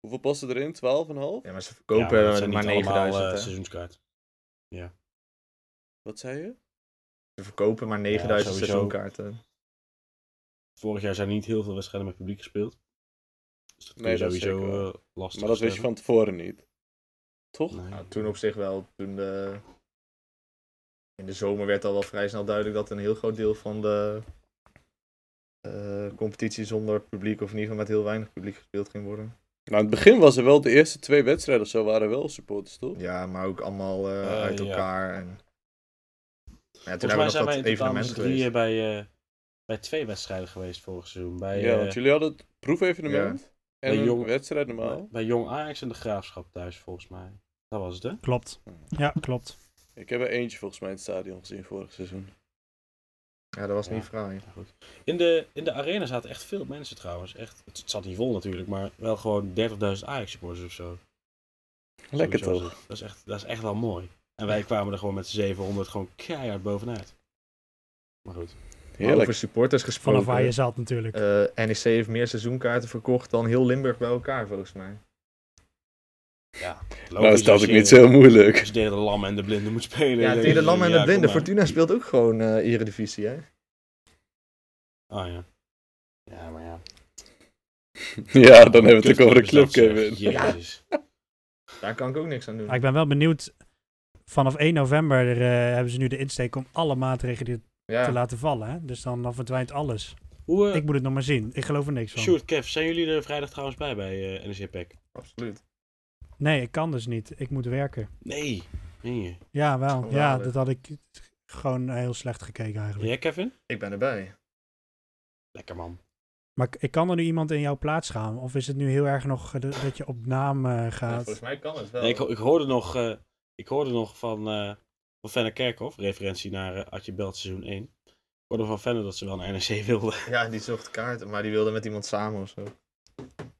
Hoeveel passen erin? 12,5?
Ja, maar ze
ja,
verkopen
dat zijn
maar
niet allemaal,
9000.
eh,
hè.
seizoenskaart.
Wat zei je?
ze verkopen maar 9000
sowieso.
seizoenkaarten.
Vorig jaar zijn niet heel veel wedstrijden met publiek gespeeld. Dus dat kun
Nee,
je
dat is
sowieso
zeker waar.
eh, lastig
Maar dat wist je
stellen.
van tevoren niet. Toch?
Nee.
Nou, toen op zich wel. Toen de... In de zomer werd al wel vrij snel duidelijk dat een heel groot deel van de eh, competitie zonder publiek, of in ieder geval met heel weinig publiek gespeeld ging worden.
Nou, in het begin was er wel de eerste twee wedstrijden of zo waren wel supporters, toch?
Ja, maar ook allemaal eh,
Eh,
uit
ja.
elkaar. En... Ja, toen
Volgens mij zijn
hebben we
wij in totaal
nog dat
met
evenement
z'n
geweest.
drieën bij, eh, bij twee wedstrijden geweest vorig seizoen. Bij,
ja,
eh,
want jullie hadden het proefevenement en
Bij
een
Jong-
wedstrijd normaal.
bij Jong Ajax en de Graafschap thuis volgens mij. Dat was het hè?
Klopt. Ja, klopt.
Ik heb er eentje volgens mij in het stadion gezien vorig seizoen.
Ja, dat was niet
Ja.
fraai.
Ja, goed. In, de, in de arena zaten echt veel mensen trouwens. Echt, het zat niet vol natuurlijk, maar wel gewoon 30.000 Ajax supporters of zo.
Lekker
Zoiets was
toch?
het. Dat is, echt, dat is echt wel mooi. En wij kwamen er gewoon met z'n 700 gewoon keihard bovenuit. Maar goed.
Heerlijk. Over
Heerlijk.
supporters
Vanaf
gesproken.
waar je zat natuurlijk.
eh, NEC heeft meer seizoenkaarten verkocht dan heel Limburg bij elkaar, volgens mij.
Nou, is dat
als
ook
je-
niet zo moeilijk.
Als je tegen de lam en de blinde moet spelen.
Ja,
dan
tegen de
denk je,
Lam
ja,
en de
kom
Blinden.
maar.
Fortuna speelt ook gewoon eh, Eredivisie, hè?
Ah ja. Ja, maar ja.
Ja, dan hebben we het
Kut
ook over de club,
club is dat,
Kevin.
zeg. Jezus.
Daar kan ik ook niks aan doen.
Maar Ah, ik ben wel benieuwd. Vanaf 1 november eh, hebben ze nu de insteek om alle maatregelen die-
Ja.
te laten vallen. Hè? Dus dan, dan verdwijnt alles.
Hoe, eh,
Ik moet het nog maar zien. Ik geloof er niks van.
Sjoerd, Kev, zijn jullie er vrijdag trouwens bij bij eh NEC Pack?
Absoluut.
Nee, ik kan dus niet. Ik moet werken.
Nee. Meen je?
Ja, wel. Ja,
Geweldig.
dat had ik gewoon heel slecht gekeken eigenlijk.
Jij, Kevin?
Ik ben erbij.
Lekker man.
Maar k- ik kan er nu iemand in jouw plaats gaan? Of is het nu heel erg nog eh, dat dat je op naam eh, gaat?
volgens mij kan het wel.
Nee, ik, ho- ik, hoorde nog, eh, ik hoorde nog van, eh van Fenne Kerkhoff, referentie naar eh Adje Belt seizoen 1. Ik hoorde van Fenne dat ze wel naar NEC wilde.
Ja, die zocht kaarten, maar die wilde met iemand samen of zo.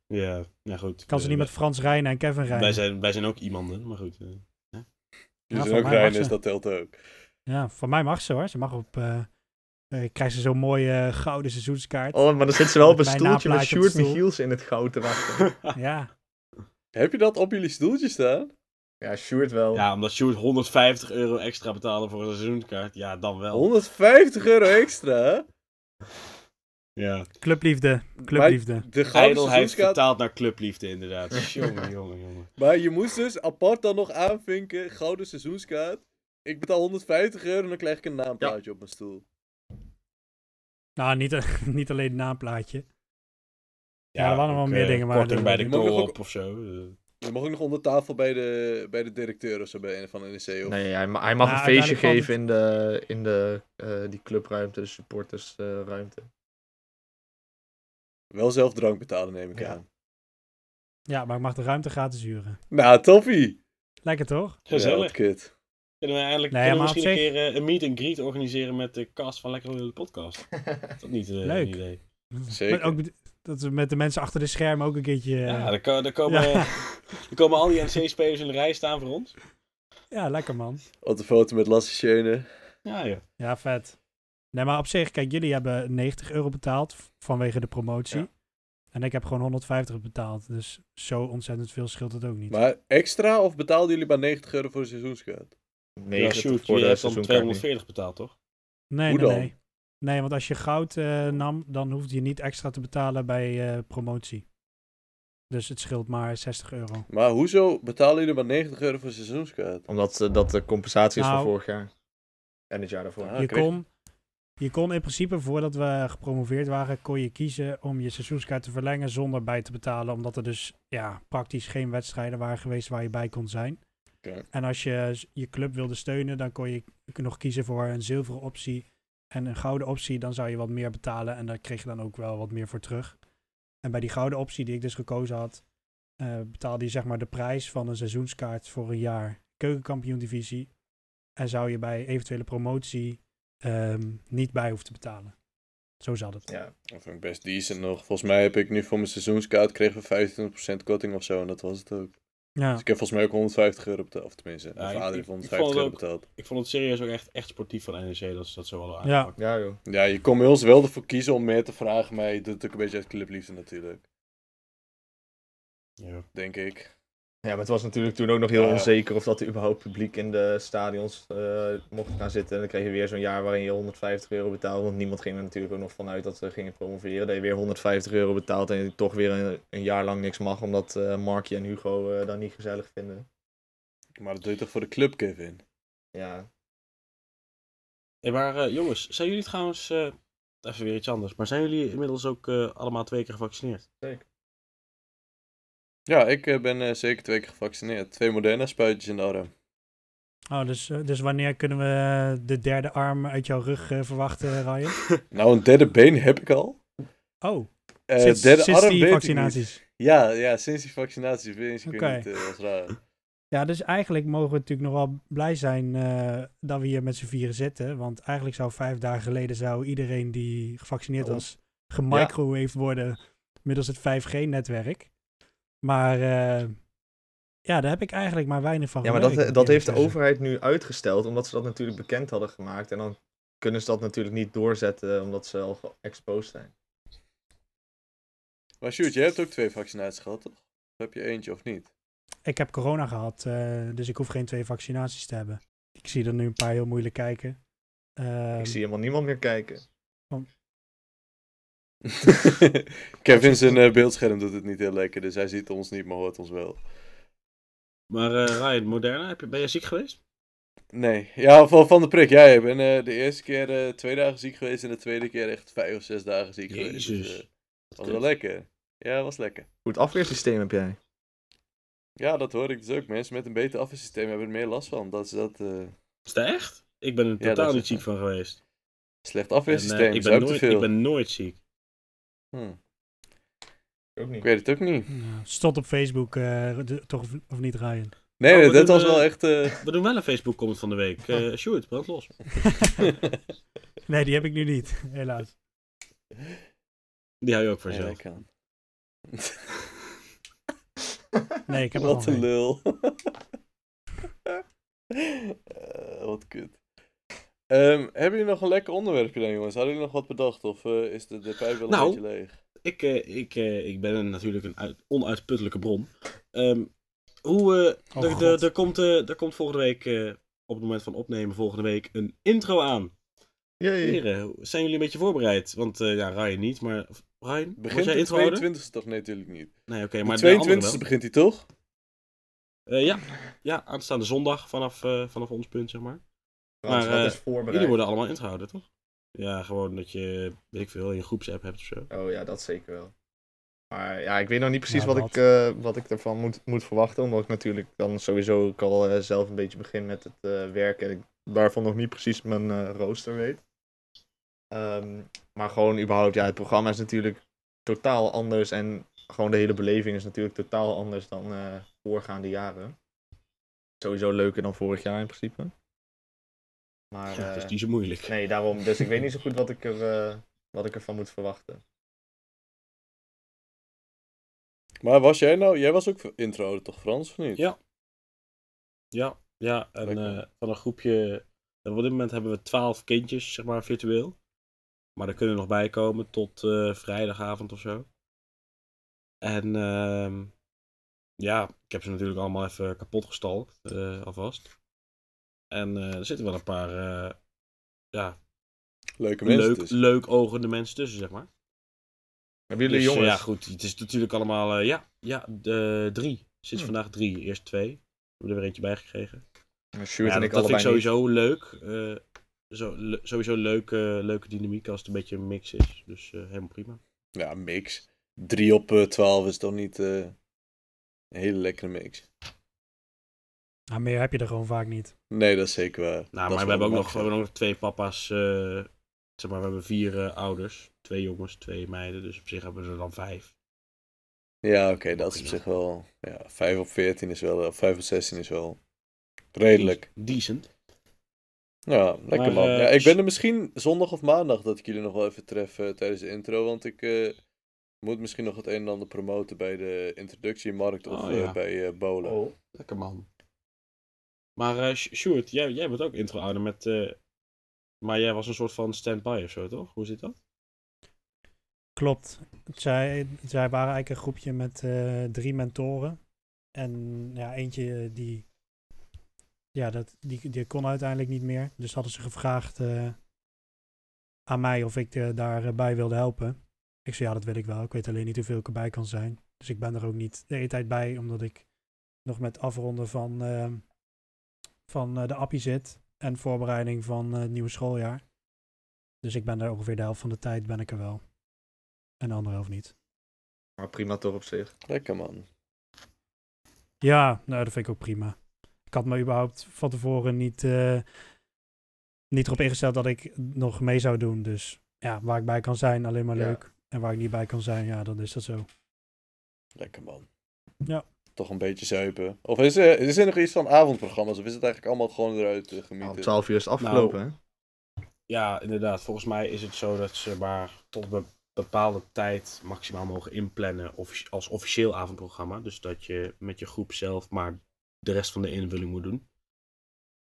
ja, nou goed.
Kan ze niet met Frans Rijnen en Kevin
wij
Rijnen?
zijn, wij zijn ook iemanden, maar goed. eh.
Die
Ja,
zijn
voor
ook
mij
rein,
mag
dus
ze.
dat telt ook.
Ja, van mij mag ze hoor. Ze mag op... eh eh, krijgt ze zo'n mooie eh, gouden seizoenskaart.
Oh, maar dan zit ze wel op een
Mijn
stoeltje met
naamplaatje op de
Sjoerd
stoel.
Michiels in het goud te wachten.
eh.
Ja.
Heb je dat op jullie stoeltje staan?
Ja, Sjoerd wel.
ja, omdat Sjoerd 150 euro extra betaalde voor een seizoenkaart. Ja, dan wel.
150 euro extra, hè?
Ja.
Clubliefde. Clubliefde.
De gouden
Ijdelheid
seizoenskaart.
vertaald naar clubliefde inderdaad. jongen, jongen, jongen.
Maar je moest dus apart dan nog aanvinken, gouden seizoenskaart. Ik betaal 150 euro en dan krijg ik een naamplaatje op mijn stoel.
Nou, niet, niet alleen het naamplaatje. Ja, er waren
ook,
wel meer
eh,
dingen, maar
Korting
dat-
bij
dat-
de
Maar we
co-op
ook-
of zo. eh.
Je mag ook nog onder tafel bij de, bij de directeur of zo bij een van de NEC. Of...
Nee, hij, ma- hij mag
Maar
een feestje
uiteindelijk valt
geven in de, in de eh, die clubruimte, de supportersruimte.
Wel zelf drank betalen, neem ik
Ja.
aan.
Ja, maar ik mag de ruimte gratis huren.
Nou, toppie!
Lekker toch?
Ja,
Gezellig.
wat kut.
Kunnen we eigenlijk
Nee,
kunnen we
maar op
misschien een keer eh, een meet and greet organiseren met de cast van Lekker Lullen Podcast? Is dat niet eh,
Leuk.
een idee?
Zeker.
Maar ook met- dat we met de mensen achter de schermen ook een keertje... eh,
Ja, er, ko- er komen,
ja.
er komen al die NC-spelers in de rij staan voor ons.
Ja, lekker man.
Op de foto met Lasse Schöne.
Ja, ja.
Ja, vet. Nee, maar op zich, kijk, jullie hebben 90 euro betaald v- vanwege de promotie.
Ja.
En ik heb gewoon 150 betaald. Dus zo ontzettend veel scheelt het ook niet.
Maar extra of betaalden jullie maar 90 euro voor de seizoenskaart?
Ja,
90
shoot,
voor
je
de
hebt dan
seizoenkaart nu.
240 betaald, toch?
nee,
hoe
nee,
dan?
nee. Nee, want als je goud eh, nam, dan hoefde je niet extra te betalen bij eh, promotie. Dus het scheelt maar 60 euro.
Maar hoezo betalen jullie maar 90 euro voor de seizoenskaart?
Omdat eh, dat de compensatie is
Nou.
van vorig jaar. En het jaar daarvoor.
Ah,
je,
kreeg-
kon, je kon in principe, voordat we gepromoveerd waren, kon je kiezen om je seizoenskaart te verlengen zonder bij te betalen. Omdat er dus ja, praktisch geen wedstrijden waren geweest waar je bij kon zijn.
Oké.
En als je s- je club wilde steunen, dan kon je k- nog kiezen voor een zilveren optie en een gouden optie. Dan zou je wat meer betalen en daar kreeg je dan ook wel wat meer voor terug. En bij die gouden optie die ik dus gekozen had, eh, betaalde je zeg maar de prijs van een seizoenskaart voor een jaar keukenkampioen divisie. En zou je bij eventuele promotie ehm, niet bij hoeven te betalen. Zo zat het.
Ja.
Dat vind ik best decent nog. Volgens mij heb ik nu voor mijn seizoenskaart kregen we 25% korting of zo en dat was het ook.
Ja,
Dus ik heb volgens mij ook 150 euro betaald. Of tenminste,
Ja,
mijn
ik-
vader heeft
ik- ik
150
vond het
euro
ook-
betaald.
Ik vond het serieus ook echt, echt sportief van NEC dat ze dat zo hadden
Ja.
aangepakt.
ja, joh.
Ja, je kon bij ons wel ervoor kiezen om meer te vragen, maar je doet het ook een beetje uit clubliefde natuurlijk.
Ja.
Denk ik.
Ja, maar het was natuurlijk toen ook nog heel
Ja.
onzeker of dat er überhaupt publiek in de stadions eh, mocht gaan zitten. En dan kreeg je weer zo'n jaar waarin je 150 euro betaalde. Want niemand ging er natuurlijk ook nog vanuit dat ze gingen promoveren. Dat je weer 150 euro betaalt en je toch weer een, een jaar lang niks mag. Omdat eh Markje en Hugo eh dat niet gezellig vinden.
Maar dat doe je toch voor de club, Kevin?
Ja,
Hey, maar eh, jongens, zijn jullie trouwens, eh, even weer iets anders, maar zijn jullie inmiddels ook eh, allemaal twee keer gevaccineerd?
Ja, ik eh, ben eh, zeker twee keer gevaccineerd. Twee moderne spuitjes in de arm.
oh, dus, eh, dus wanneer kunnen we eh, de derde arm uit jouw rug eh, verwachten, Ryan?
Nou, een derde been heb ik al.
Oh,
Eh,
sinds,
derde
sinds
arm
die
weet ik
vaccinaties.
niet. Ja, ja, sinds die vaccinaties vind ik
Oké.
het niet eh, als raar.
Ja, dus eigenlijk mogen we natuurlijk nog wel blij zijn eh, dat we hier met z'n vieren zitten. Want eigenlijk zou vijf dagen geleden zou iedereen die gevaccineerd
Waarom?
was, gemicrowaved worden middels het 5G-netwerk. Maar eh, ja, daar heb ik eigenlijk maar weinig van
ja maar
gemerkt,
dat,
moet
dat
ik
heeft de
eerlijk zeggen.
overheid nu uitgesteld. Omdat ze dat natuurlijk bekend hadden gemaakt. En dan kunnen ze dat natuurlijk niet doorzetten omdat ze al geëxposed zijn.
Maar Sjoerd, jij hebt ook twee vaccinaties gehad, toch? Of heb je eentje of niet?
Ik heb corona gehad, eh, dus ik hoef geen twee vaccinaties te hebben. Ik zie er nu een paar heel moeilijk kijken. Ehm,
Ik zie helemaal niemand meer kijken.
Kevin zijn eh, beeldscherm doet het niet heel lekker, dus hij ziet ons niet, maar hoort ons wel.
Maar eh, Ryan, Moderna, heb je, ben je ziek geweest?
Nee, ja, van, van de prik. Jij ja, ik ben eh, de eerste keer eh, twee dagen ziek geweest en de tweede keer echt vijf of zes dagen ziek geweest. Dus, eh,
Jezus.
was wel lekker. Ja, was lekker.
Goed afweersysteem heb jij.
Ja, dat hoor ik dus ook. Mensen met een beter afweersysteem hebben er meer last van. Dat is dat eh,
Is dat echt? Ik ben er
Ja,
totaal
dat is
niet
het,
ziek van geweest.
slecht
En, eh,
afweersysteem.
ik,
is
ben
ook te
nooit,
veel.
ik ben nooit ziek.
Hm,
Ook niet.
ik weet het ook niet.
nou, stond op Facebook, eh, de- toch of, of niet, Ryan?
Nee,
Oh,
nee,
we
dat
doen,
was
eh,
wel echt... Nou, eh,
We doen wel een Facebook comment van de week.
Oh.
Eh Sjoerd, brand los.
nee, die heb ik nu niet, helaas.
Die hou je ook voor
ja,
jezelf.
dat kan.
Nee, ik heb er
Wat
nog
een
geen.
lul. Eh, wat kut. Ehm, hebben jullie nog een lekker onderwerpje dan, jongens? Hadden jullie nog wat bedacht? Of eh, is de, de pijp wel een
Nou,
beetje leeg?
Ik, eh, ik, eh, ik ben een- natuurlijk een uit- onuitputtelijke bron. Ehm, hoe, eh,
Oh,
er-
God.
er- er, komt, eh, er komt volgende week, eh, op het moment van opnemen volgende week, een intro aan.
Jee.
Heren, hoe- zijn jullie een beetje voorbereid? Want eh, ja, Ryan niet, maar... of- Ryan, moet
Begint
jij
de
intro houden?
22e toch? Nee, natuurlijk niet.
Nee, oké,
De
maar de andere
22e
wel.
begint hij toch?
Eh, ja. ja, aanstaande zondag vanaf, eh, vanaf ons punt, zeg maar.
Frans,
Maar,
wat
eh,
is voorbereid?
Jullie worden allemaal intro houden, toch? Ja, gewoon dat je, weet ik veel, in je groepsapp hebt of zo.
Oh ja, dat zeker wel. Maar ja, ik weet nog niet precies
Ja,
wat,
dat.
ik, eh, wat ik ervan moet, moet verwachten. Omdat ik natuurlijk dan sowieso ook al eh, zelf een beetje begin met het eh, werk. En ik daarvan nog niet precies mijn eh, rooster weet. Ehm, maar gewoon überhaupt, ja, het programma is natuurlijk totaal anders. En gewoon de hele beleving is natuurlijk totaal anders dan eh, voorgaande jaren. Sowieso leuker dan vorig jaar in principe. Maar,
Ja,
eh,
dat is niet zo moeilijk.
Nee, daarom. Dus ik weet niet zo goed wat ik, er, eh, wat ik ervan moet verwachten.
Maar was jij nou... Jij was ook intro toch, Frans, of niet?
Ja. Ja, ja en
Lekker.
eh, van een groepje. en Op dit moment hebben we twaalf kindjes, zeg maar, virtueel. Maar er kunnen nog bij komen tot eh, vrijdagavond of zo. En ehm, ja, ik heb ze natuurlijk allemaal even kapot gestalkt, eh, alvast. En eh, er zitten wel een paar eh, ja,
Leuke mensen
leuk,
dus.
leuk ogende mensen tussen, zeg maar.
Hebben jullie
Dus, eh,
jongens?
Ja, goed. Het is natuurlijk allemaal, eh, ja, ja de, drie. Sinds vandaag drie. Eerst twee. We hebben er weer eentje bij gekregen.
Sjoerd
Ja,
en
dat, dat
ik
vind
allebei
ik sowieso leuk. eh, zo, le- sowieso leuke, leuke dynamiek als het een beetje een mix is. Dus eh, helemaal prima.
Ja, mix. 3 op eh, 12 is toch niet eh, een hele lekkere mix.
Nou, meer heb je er gewoon vaak niet.
Nee, dat is zeker waar.
Nou,
Dat
maar
is
we hebben ook
wel
nog, we hebben nog twee papa's. eh, zeg maar, we hebben vier eh, ouders. Twee jongens, twee meiden. Dus op zich hebben we er dan vijf. Dus
Ja, oké, dat is op zich wel... Ja, 5 op 14 is wel... Of 5 op 16 is wel... Redelijk.
Decent.
Ja, lekker
Maar,
man.
eh,
ja, ik
s-
ben er misschien zondag of maandag dat ik jullie nog wel even tref eh, tijdens de intro. Want ik eh, moet misschien nog het een en ander promoten bij de introductiemarkt of
Oh,
eh,
ja. Oh.
bij eh Bolen.
lekker man. Maar eh, Sj- Sjoerd, jij, jij bent ook intro-ouder met... eh, maar jij was een soort van stand-by of zo, toch? Hoe zit dat?
Klopt. Zij, zij waren eigenlijk een groepje met eh, drie mentoren. En ja, eentje eh, die, ja, dat, die, die kon uiteindelijk niet meer. Dus hadden ze gevraagd eh, aan mij of ik eh, daarbij wilde helpen. Ik zei ja, dat wil ik wel. Ik weet alleen niet hoeveel ik erbij kan zijn. Dus ik ben er ook niet de hele tijd bij, omdat ik nog met afronden van, eh, van eh, de appie zit. En voorbereiding van eh, het nieuwe schooljaar. Dus ik ben daar ongeveer de helft van de tijd ben ik er wel. En de andere helft niet.
Maar prima toch op zich.
Lekker man.
Ja, nou, dat vind ik ook prima. Ik had me überhaupt van tevoren niet, eh, niet erop ingesteld dat ik nog mee zou doen. Dus ja, waar ik bij kan zijn, alleen maar
Ja.
leuk. En waar ik niet bij kan zijn, ja, dan is dat zo.
Lekker man.
Ja.
Toch een beetje zuipen. Of is, eh, is er nog iets van avondprogramma's? Of is het eigenlijk allemaal gewoon eruit eh,
Nou, om
Oh,
gemieten?
12 uur is het afgelopen,
Nou,
hè?
Ja, inderdaad. Volgens mij is het zo dat ze maar tot een bepaalde tijd maximaal mogen inplannen offici- als officieel avondprogramma. Dus dat je met je groep zelf maar de rest van de invulling moet doen.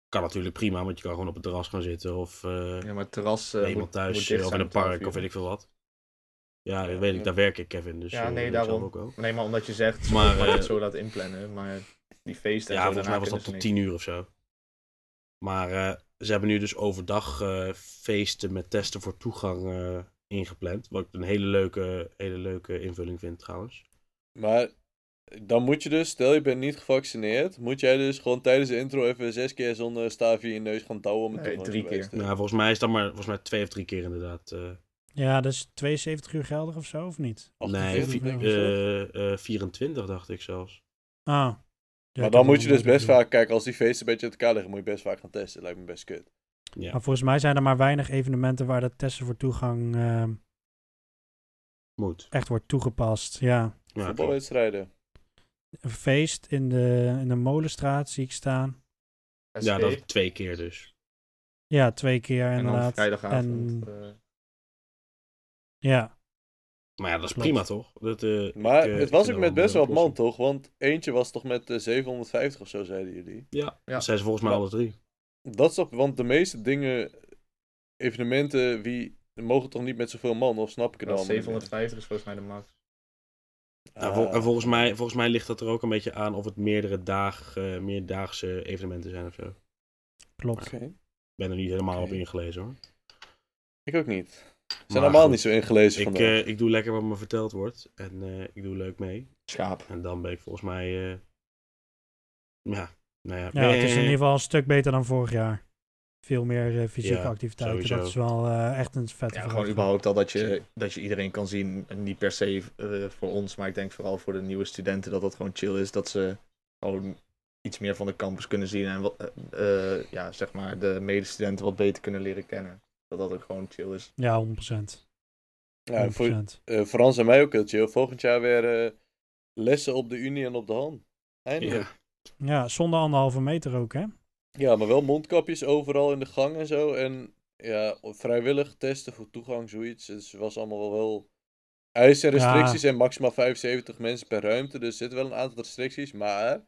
Kan natuurlijk prima, want je kan gewoon op het terras gaan zitten of eh,
Ja, maar het terras eh,
bij iemand
moet, moet
thuis
dicht
eh, of in
zijn
een
om 12
park
uur.
of weet ik veel wat. Ja,
Ja,
dat weet ik.
ja.
Daar werk ik, Kevin. Dus
Ja,
eh,
nee,
ik zelf
daarom.
ook wel.
Nee, maar omdat je zegt,
Maar,
maar,
eh,
het zo laat inplannen, maar die feesten en
Ja,
zo,
volgens mij
daarna
was dat
kunnen
tot
ze
tien uur of zo. Maar eh, ze hebben nu dus overdag eh, feesten met testen voor toegang eh, ingepland. Wat ik een hele leuke, hele leuke invulling vind trouwens.
Maar dan moet je dus, stel je bent niet gevaccineerd, moet jij dus gewoon tijdens de intro even zes keer zo'n eh, staafje in je neus gaan touwen om het
Nee, drie
toegangsbewijs te-
Nou, volgens mij is dat maar volgens mij twee of drie keer inderdaad. eh,
Ja, dat is 72 uur geldig of zo, of niet?
48
nee, vi-
denk ik of zo.
eh, eh, 24 dacht ik zelfs.
Ah. Ja,
maar
ik
dan
heb
moet je
nog
dus
nooit
best
gedaan.
vaak, kijk, als die feesten een beetje uit elkaar liggen, moet je best vaak gaan testen. Lijkt me best kut.
Ja.
Maar volgens mij zijn er maar weinig evenementen waar dat testen voor toegang eh,
Moet.
echt wordt toegepast. Ja.
Ja, klopt.
Voetbalwedstrijden.
Een feest in de, in de Molenstraat zie ik staan.
niks.
ja,
SP,
dat is twee keer dus.
Ja, twee keer
En dan
inderdaad.
vrijdagavond.
En-
eh,
ja.
Maar ja, dat is
Klopt.
prima toch? Dat, eh, ik,
Maar
eh,
het was
ik vind
ook
dat
met
wel
best wel wat
een
man,
oplossing.
toch? Want eentje was toch met eh, 750 of zo, zeiden jullie.
Ja,
Ja.
dat zijn ze volgens mij
Maar-
alle drie.
Dat is toch, want de meeste dingen, evenementen, wie mogen toch niet met zoveel man? Of snap ik het
wel,
allemaal niet meer?
750 is volgens mij de max.
Ja, vol-
Ah.
en volgens mij, volgens mij ligt dat er ook een beetje aan of het meerdere dag, eh, meerdaagse evenementen zijn of zo. Ik
Klopt.
Oké.
ben er niet helemaal
Oké.
op ingelezen hoor.
Ik ook niet. Ze
Maar
zijn allemaal
goed,
niet zo ingelezen
Ik,
vandaag.
eh, ik doe lekker wat me verteld wordt en eh, ik doe leuk mee.
Schaap.
En dan ben ik volgens mij. eh, ja, nou ja.
Ja, het is in
eh,
ieder geval een stuk beter dan vorig jaar. Veel meer eh, fysieke
Ja,
activiteiten. Dat
sowieso.
is wel eh, echt een vette
Ja, gewoon
vooruitgang.
überhaupt al dat je, dat je iedereen kan zien. En Niet per se eh, voor ons, maar ik denk vooral voor de nieuwe studenten dat dat gewoon chill is. Dat ze gewoon iets meer van de campus kunnen zien. En wat, eh, eh, ja, zeg maar de medestudenten wat beter kunnen leren kennen. Dat dat ook gewoon chill is.
Ja, 100%.
ja,
100%.
voor, eh, voor Hans en mij ook heel chill. Volgend jaar weer eh, lessen op de Unie en op de Han. Eindelijk.
ja.
Ja, zonder anderhalve meter ook, hè?
Ja. maar wel mondkapjes overal in de gang en zo. En ja, vrijwillig testen voor toegang, zoiets. Dus het was allemaal wel wel eisen en
Ja.
restricties en maximaal 75 mensen per ruimte. Dus er zitten wel een aantal restricties, maar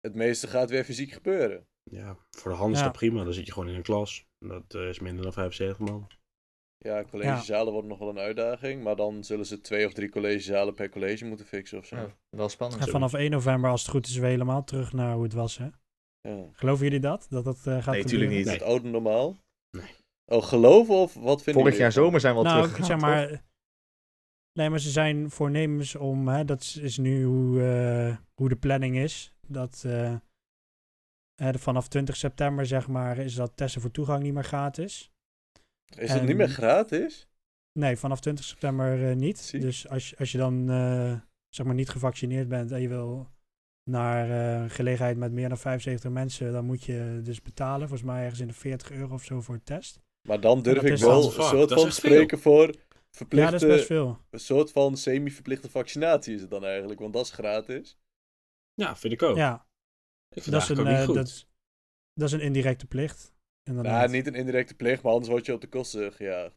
het meeste gaat weer fysiek gebeuren.
ja, voor de hand is
Ja.
dat prima. Dan zit je gewoon in een klas. Dat eh, is minder dan 75 man.
Ja, collegezalen wordt nog wel een uitdaging. Maar dan zullen ze twee of drie collegezalen per college moeten fixen of zo.
Ja, wel spannend.
En vanaf 1 november, als het goed is, weer helemaal terug naar hoe het was, hè?
Ja.
Geloven jullie dat? Dat dat eh, gaat
Nee, tuurlijk
gebeuren?
Is
niet.
het oude normaal?
Nee.
Oh, geloven of wat vinden
Vorig jaar zomer zijn we al
nou,
terug.
zeg maar... Nee, maar ze zijn voornemens om... Hè, dat is- is nu hoe, eh, hoe de planning is. Dat eh, hè, de- vanaf 20 september, zeg maar, is dat testen voor toegang niet meer gratis.
Is dat
En-
niet meer gratis?
Nee, vanaf 20 september eh, niet.
Zie.
Dus als, je- als je dan, eh, zeg maar, niet gevaccineerd bent en je wil naar eh, een gelegenheid met meer dan 75 mensen, dan moet je dus betalen. Volgens mij ergens in de 40 euro of zo voor een test.
Maar dan durf
dat
ik
is
wel
dan-
een
Fuck,
soort
dat is
van
echt
spreken voor
Ja, dat
verplichte,
is best veel.
een soort van semi-verplichte vaccinatie is het dan eigenlijk, want dat is gratis.
Ja, vind ik ook.
Ja,
ik vind
dat is,
dat
een,
ook niet
eh,
goed.
dat, is- dat is een indirecte plicht.
Ja,
inderdaad.
Nou, niet een indirecte plicht, maar anders word je op de kosten gejaagd.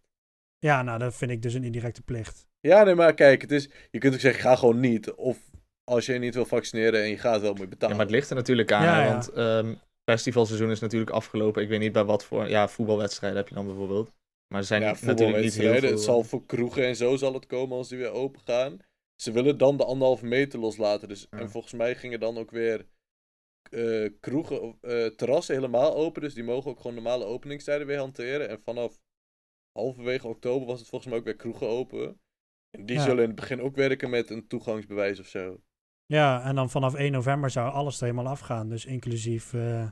Ja, nou, dat vind ik dus een indirecte plicht.
Ja, nee, maar kijk, het is, je kunt ook zeggen, ga gewoon niet. Of als je niet wil vaccineren en je gaat wel, moet je
Ja,
betalen.
maar het ligt er natuurlijk aan,
Ja,
hè,
ja.
want ehm festivalseizoen is natuurlijk afgelopen. Ik weet niet bij wat voor ja, voetbalwedstrijden heb je dan bijvoorbeeld. Maar er zijn
Ja,
natuurlijk niet heel
voetbalwedstrijden,
veel...
Het zal voor kroegen en zo zal het komen als die weer open gaan. Ze willen dan de anderhalve meter loslaten. Dus,
Ja.
En volgens mij gingen dan ook weer eh, kroegen, eh, terrassen helemaal open. Dus die mogen ook gewoon normale openingstijden weer hanteren. En vanaf halverwege oktober was het volgens mij ook weer kroegen open. En die
Ja.
zullen in het begin ook werken met een toegangsbewijs of zo.
Ja, en dan vanaf 1 november zou alles er helemaal afgaan. Dus inclusief, eh,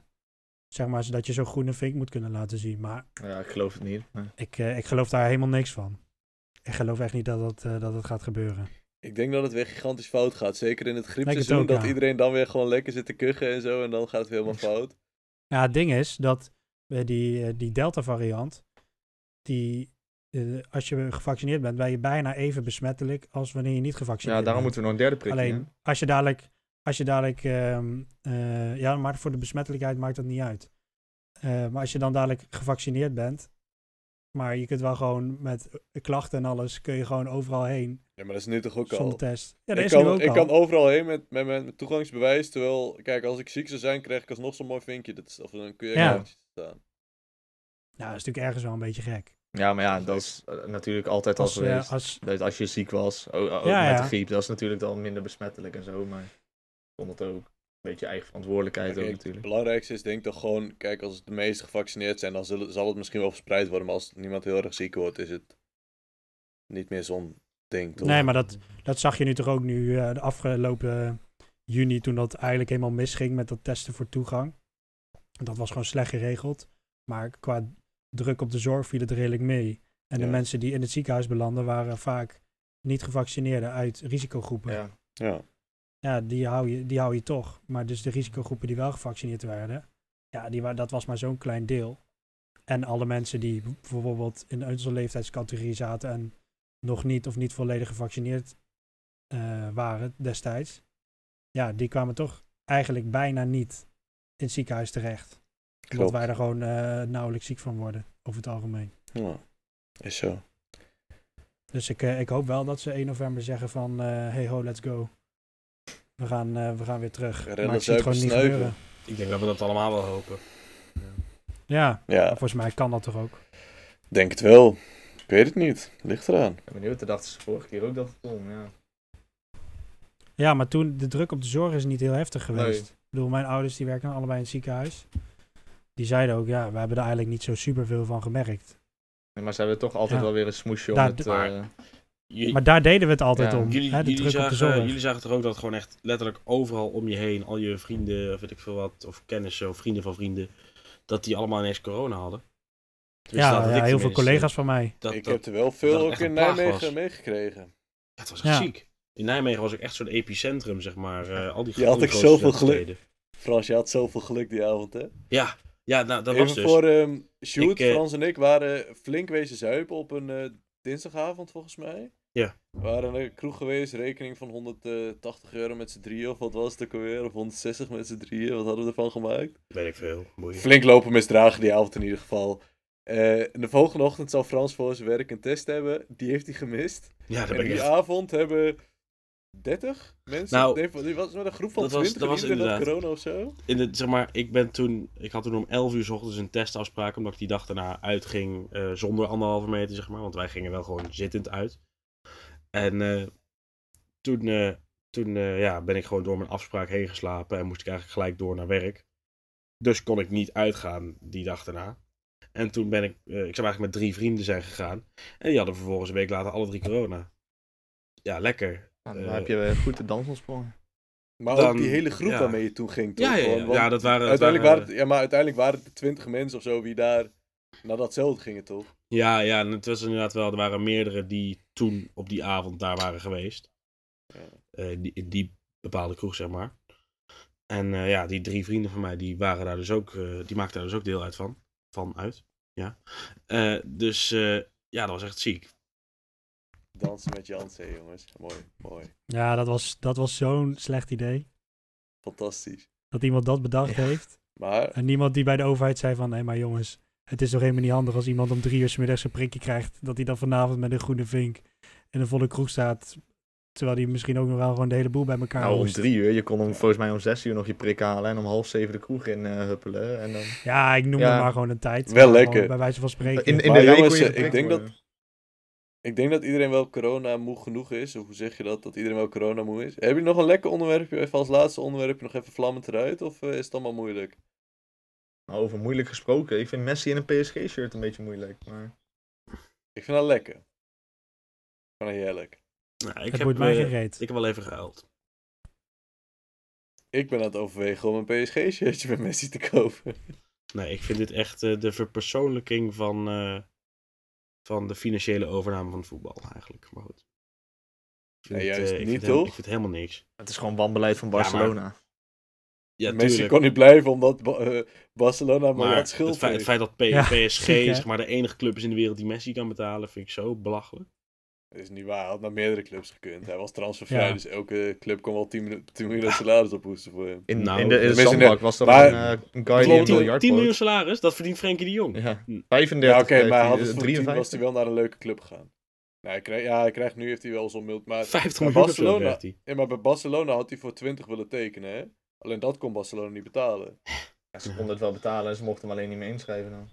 zeg maar, zodat je zo'n groene vink moet kunnen laten zien. Maar
eh,
Ja, ik geloof het niet. maar-
ik, eh, ik geloof daar helemaal niks van. Ik geloof echt niet dat dat, eh, dat het gaat gebeuren.
Ik denk dat het weer gigantisch fout gaat. Zeker in het griepseizoen.
ook,
dat
ja.
iedereen dan weer gewoon lekker zit te kuchen en zo. En dan gaat het weer helemaal fout.
Ja, Nou, het ding is dat eh, die, eh, die Delta-variant, die, eh, als je gevaccineerd bent, ben je bijna even besmettelijk als wanneer je niet gevaccineerd
Ja,
bent.
daarom moeten we nog een derde prik
Alleen als je dadelijk, als je dadelijk, ehm, eh, ja, maar voor de besmettelijkheid maakt dat niet uit. Eh, maar als je dan dadelijk gevaccineerd bent, maar je kunt wel gewoon met klachten en alles, kun je gewoon overal heen
Ja, maar dat is nu toch ook al.
zonder test. Ja, dat
ik
is
kan,
nu ook
ik
al.
kan overal heen met, met, mijn toegangsbewijs. Terwijl, kijk, als ik ziek zou zijn, krijg ik alsnog zo'n mooi vinkje. Dat is, of een qr
Ja.
ja. staan.
Nou, dat is natuurlijk ergens wel een beetje gek.
Ja, maar ja, dat is eh, natuurlijk altijd al
Als, eh,
geweest.
als,
Dat als je ziek was, o- o- ook
Ja,
met
ja.
de griep, dat is natuurlijk dan minder besmettelijk en zo. Maar ik vond het ook een beetje eigen verantwoordelijkheid
Kijk,
ook
het
natuurlijk.
belangrijkste is denk ik toch gewoon, kijk, als de meesten gevaccineerd zijn, dan zullen- zal het misschien wel verspreid worden. Maar als niemand heel erg ziek wordt, is het niet meer zo'n ding. Toch?
Nee, maar dat, dat zag je nu toch ook nu eh, de afgelopen juni, toen dat eigenlijk helemaal misging met dat testen voor toegang. Dat was gewoon slecht geregeld. Maar qua druk op de zorg viel het redelijk mee. En
Ja.
de mensen die in het ziekenhuis belanden waren vaak niet gevaccineerden uit risicogroepen. Ja,
Ja.
Ja.
die, hou je, die hou je toch. Maar dus de risicogroepen die wel gevaccineerd werden, ja, die, wa- dat was maar zo'n klein deel. En alle mensen die bijvoorbeeld in onze leeftijdscategorie zaten en nog niet of niet volledig gevaccineerd eh, waren destijds, ja, die kwamen toch eigenlijk bijna niet in het ziekenhuis terecht.
Klopt.
Omdat wij er gewoon eh, nauwelijks ziek van worden, over het algemeen.
Ja. Is zo.
Dus ik, eh, ik hoop wel dat ze 1 november zeggen van, eh, hey ho, let's go. We gaan, eh, we gaan weer terug.
Rellen,
maar ik zie
zuipen,
het gewoon niet
snuiven.
gebeuren.
Ik denk dat we dat allemaal wel hopen.
Ja,
Ja,
volgens mij kan dat toch ook.
denk het wel. Ik weet het niet. Ligt eraan.
Ik ben benieuwd, dat dachten ze vorige keer ook dat het kon. Ja.
Ja, maar toen, de druk op de zorg is niet heel heftig
Nee.
geweest. Ik bedoel, mijn ouders die werken allebei in het ziekenhuis. Die zeiden ook, ja, we hebben er eigenlijk niet zo superveel van gemerkt.
Nee, maar ze hebben toch altijd
Ja.
wel weer een smoesje om
Daar-
het...
Maar-
eh,
Je-
Maar daar deden we het altijd
Ja.
om.
jullie,
hè, de
jullie,
druk op de
zagen,
zorg.
jullie zagen toch ook dat gewoon echt letterlijk overal om je heen, al je vrienden, of weet ik veel wat, of kennissen of vrienden van vrienden, dat die allemaal ineens corona hadden. Tenminste,
ja,
dat had
ja,
ik
heel veel
tenminste.
collega's van mij.
Dat,
ik
dat-
heb er wel veel
dat het
ook
echt
in
een plaag
Nijmegen
was.
meegekregen.
ja, het was echt
Ja.
ziek. In Nijmegen was ook echt zo'n epicentrum, zeg maar. eh, al die
Je had
grote
ook zoveel
grote steden.
Frans, je had zoveel geluk die avond, hè?
Ja, ja nou, dat
Even
was dus.
voor ehm Sjoerd,
Ik, eh,
Frans en ik waren flink wezen zuipen op een eh, dinsdagavond, volgens mij.
Ja.
We waren naar de kroeg geweest, rekening van 180 euro met z'n drieën, of wat was het ook alweer? Of 160 met z'n drieën, wat hadden we ervan gemaakt?
Weet ik veel. Boeien.
Flink lopen misdragen die avond in ieder geval. Eh, en de volgende ochtend zal Frans voor zijn werk een test hebben, die heeft hij gemist.
Ja, dat
En
ben ik
die
echt.
avond hebben 30 mensen?
Nou,
nee, van- die was met een groep van
dat was-
20
dat was
die inderdaad
inderdaad.
corona of zo.
In het, zeg maar, ik, ben toen, ik had toen om 11 uur 's ochtends een testafspraak, omdat ik die dag daarna uitging eh, zonder anderhalve meter, zeg maar. Want wij gingen wel gewoon zittend uit. En eh, toen, eh, toen eh, ja, ben ik gewoon door mijn afspraak heen geslapen en moest ik eigenlijk gelijk door naar werk. Dus kon ik niet uitgaan die dag daarna. En toen ben ik, eh, ik zou eigenlijk met drie vrienden zijn gegaan. En die hadden vervolgens een week later alle drie corona. Ja, lekker.
Nou, dan
Eh,
heb je eh, goed de dans ontsprongen.
Maar ook
Dan-
die hele groep
ja.
waarmee je toen ging, toch?
Ja, ja,
Gewoon,
ja.
want
ja, dat waren... dat
uiteindelijk
waren-
waren het, ja, maar uiteindelijk waren het 20 mensen of zo die daar naar datzelfde gingen, toch?
Ja, ja, en het was inderdaad wel, er waren meerdere die toen op die avond daar waren geweest.
Ja.
Eh, die, in die bepaalde kroeg, zeg maar. En eh, ja, die drie vrienden van mij, die waren daar dus ook, eh, die maakten daar dus ook deel uit van. Van uit, ja. Eh, dus eh, ja, dat was echt ziek.
Dansen met Jansen, jongens. Mooi, mooi.
Ja, dat was, dat was zo'n slecht idee.
Fantastisch.
Dat iemand dat bedacht
Ja.
heeft.
Maar
En niemand die bij de overheid zei van... Hé, maar jongens, het is toch helemaal niet handig als iemand om drie uur 's middags een prikje krijgt... dat hij dan vanavond met een groene vink in een volle kroeg staat... terwijl hij misschien ook nog wel gewoon de hele boel bij elkaar
Nou, om
hoest.
drie uur. Je kon hem volgens mij om zes uur nog je prik halen en om half zeven de kroeg in eh, huppelen. En dan...
Ja, ik noem
Ja.
het maar gewoon een tijd.
Wel
Maar
lekker.
gewoon Bij wijze van spreken.
In, in
Maar
de rij
jongens,
kon je
eh, ik
geprikt
denk dat-
worden.
ik denk dat iedereen wel corona moe genoeg is. Of hoe zeg je dat? Dat iedereen wel corona moe is. Heb je nog een lekker onderwerpje? Even als laatste onderwerpje nog even vlammend eruit? Of eh, is het allemaal moeilijk?
Nou, over moeilijk gesproken. Ik vind Messi in een PSG-shirt een beetje moeilijk. Maar...
Ik vind dat lekker. Ik vind dat heerlijk.
Nou, ik,
het
heb,
wordt mij
eh,
geen reet.
ik heb wel even gehuild.
Ik ben aan het overwegen om een PSG-shirtje met Messi te kopen.
Nee, ik vind dit echt eh, de verpersoonlijking van, eh, van de financiële overname van het voetbal, eigenlijk. Maar goed. Ik vind
Nee,
het,
juist
eh, ik
niet,
vind het helemaal-
toch?
Ik vind het helemaal niks.
Het is gewoon wanbeleid van
maar-
Barcelona.
Ja,
Messi
tuurlijk.
kon niet blijven omdat Ba- eh, Barcelona maar wat
Maar
schuld
het feit, het
heeft.
feit dat P-
Ja,
PSG
gek, hè?
zeg maar, de enige club is in de wereld die Messi kan betalen, vind ik zo belachelijk.
Dat is niet waar. Hij had naar meerdere clubs gekund. Hij was transfervrij,
Ja.
dus elke club kon wel 10 minuten, 10 miljoen aan salaris ophoesten voor hem.
In,
Nou,
in de, in de
tenminste,
zandbak was er
maar-
een, eh, een guy die een
10,
miljard
10 miljoen
bood.
salaris, dat verdient Frenkie de Jong.
Ja,
Hm.
35
Ja, oké,
krijgt
maar hij
hij,
had
eh,
het voor 10 was
53.
hij wel naar een leuke club gegaan. Nou, hij krijgt, ja, hij krijgt nu heeft hij wel zo'n mild, maar,
50
Maar
miljoen of zo
Barcelona-
krijgt hij.
ja, maar bij Barcelona had hij voor 20 willen tekenen, hè? Alleen dat kon Barcelona niet betalen.
Ja, ze konden het wel betalen en ze mochten hem alleen niet meer inschrijven dan.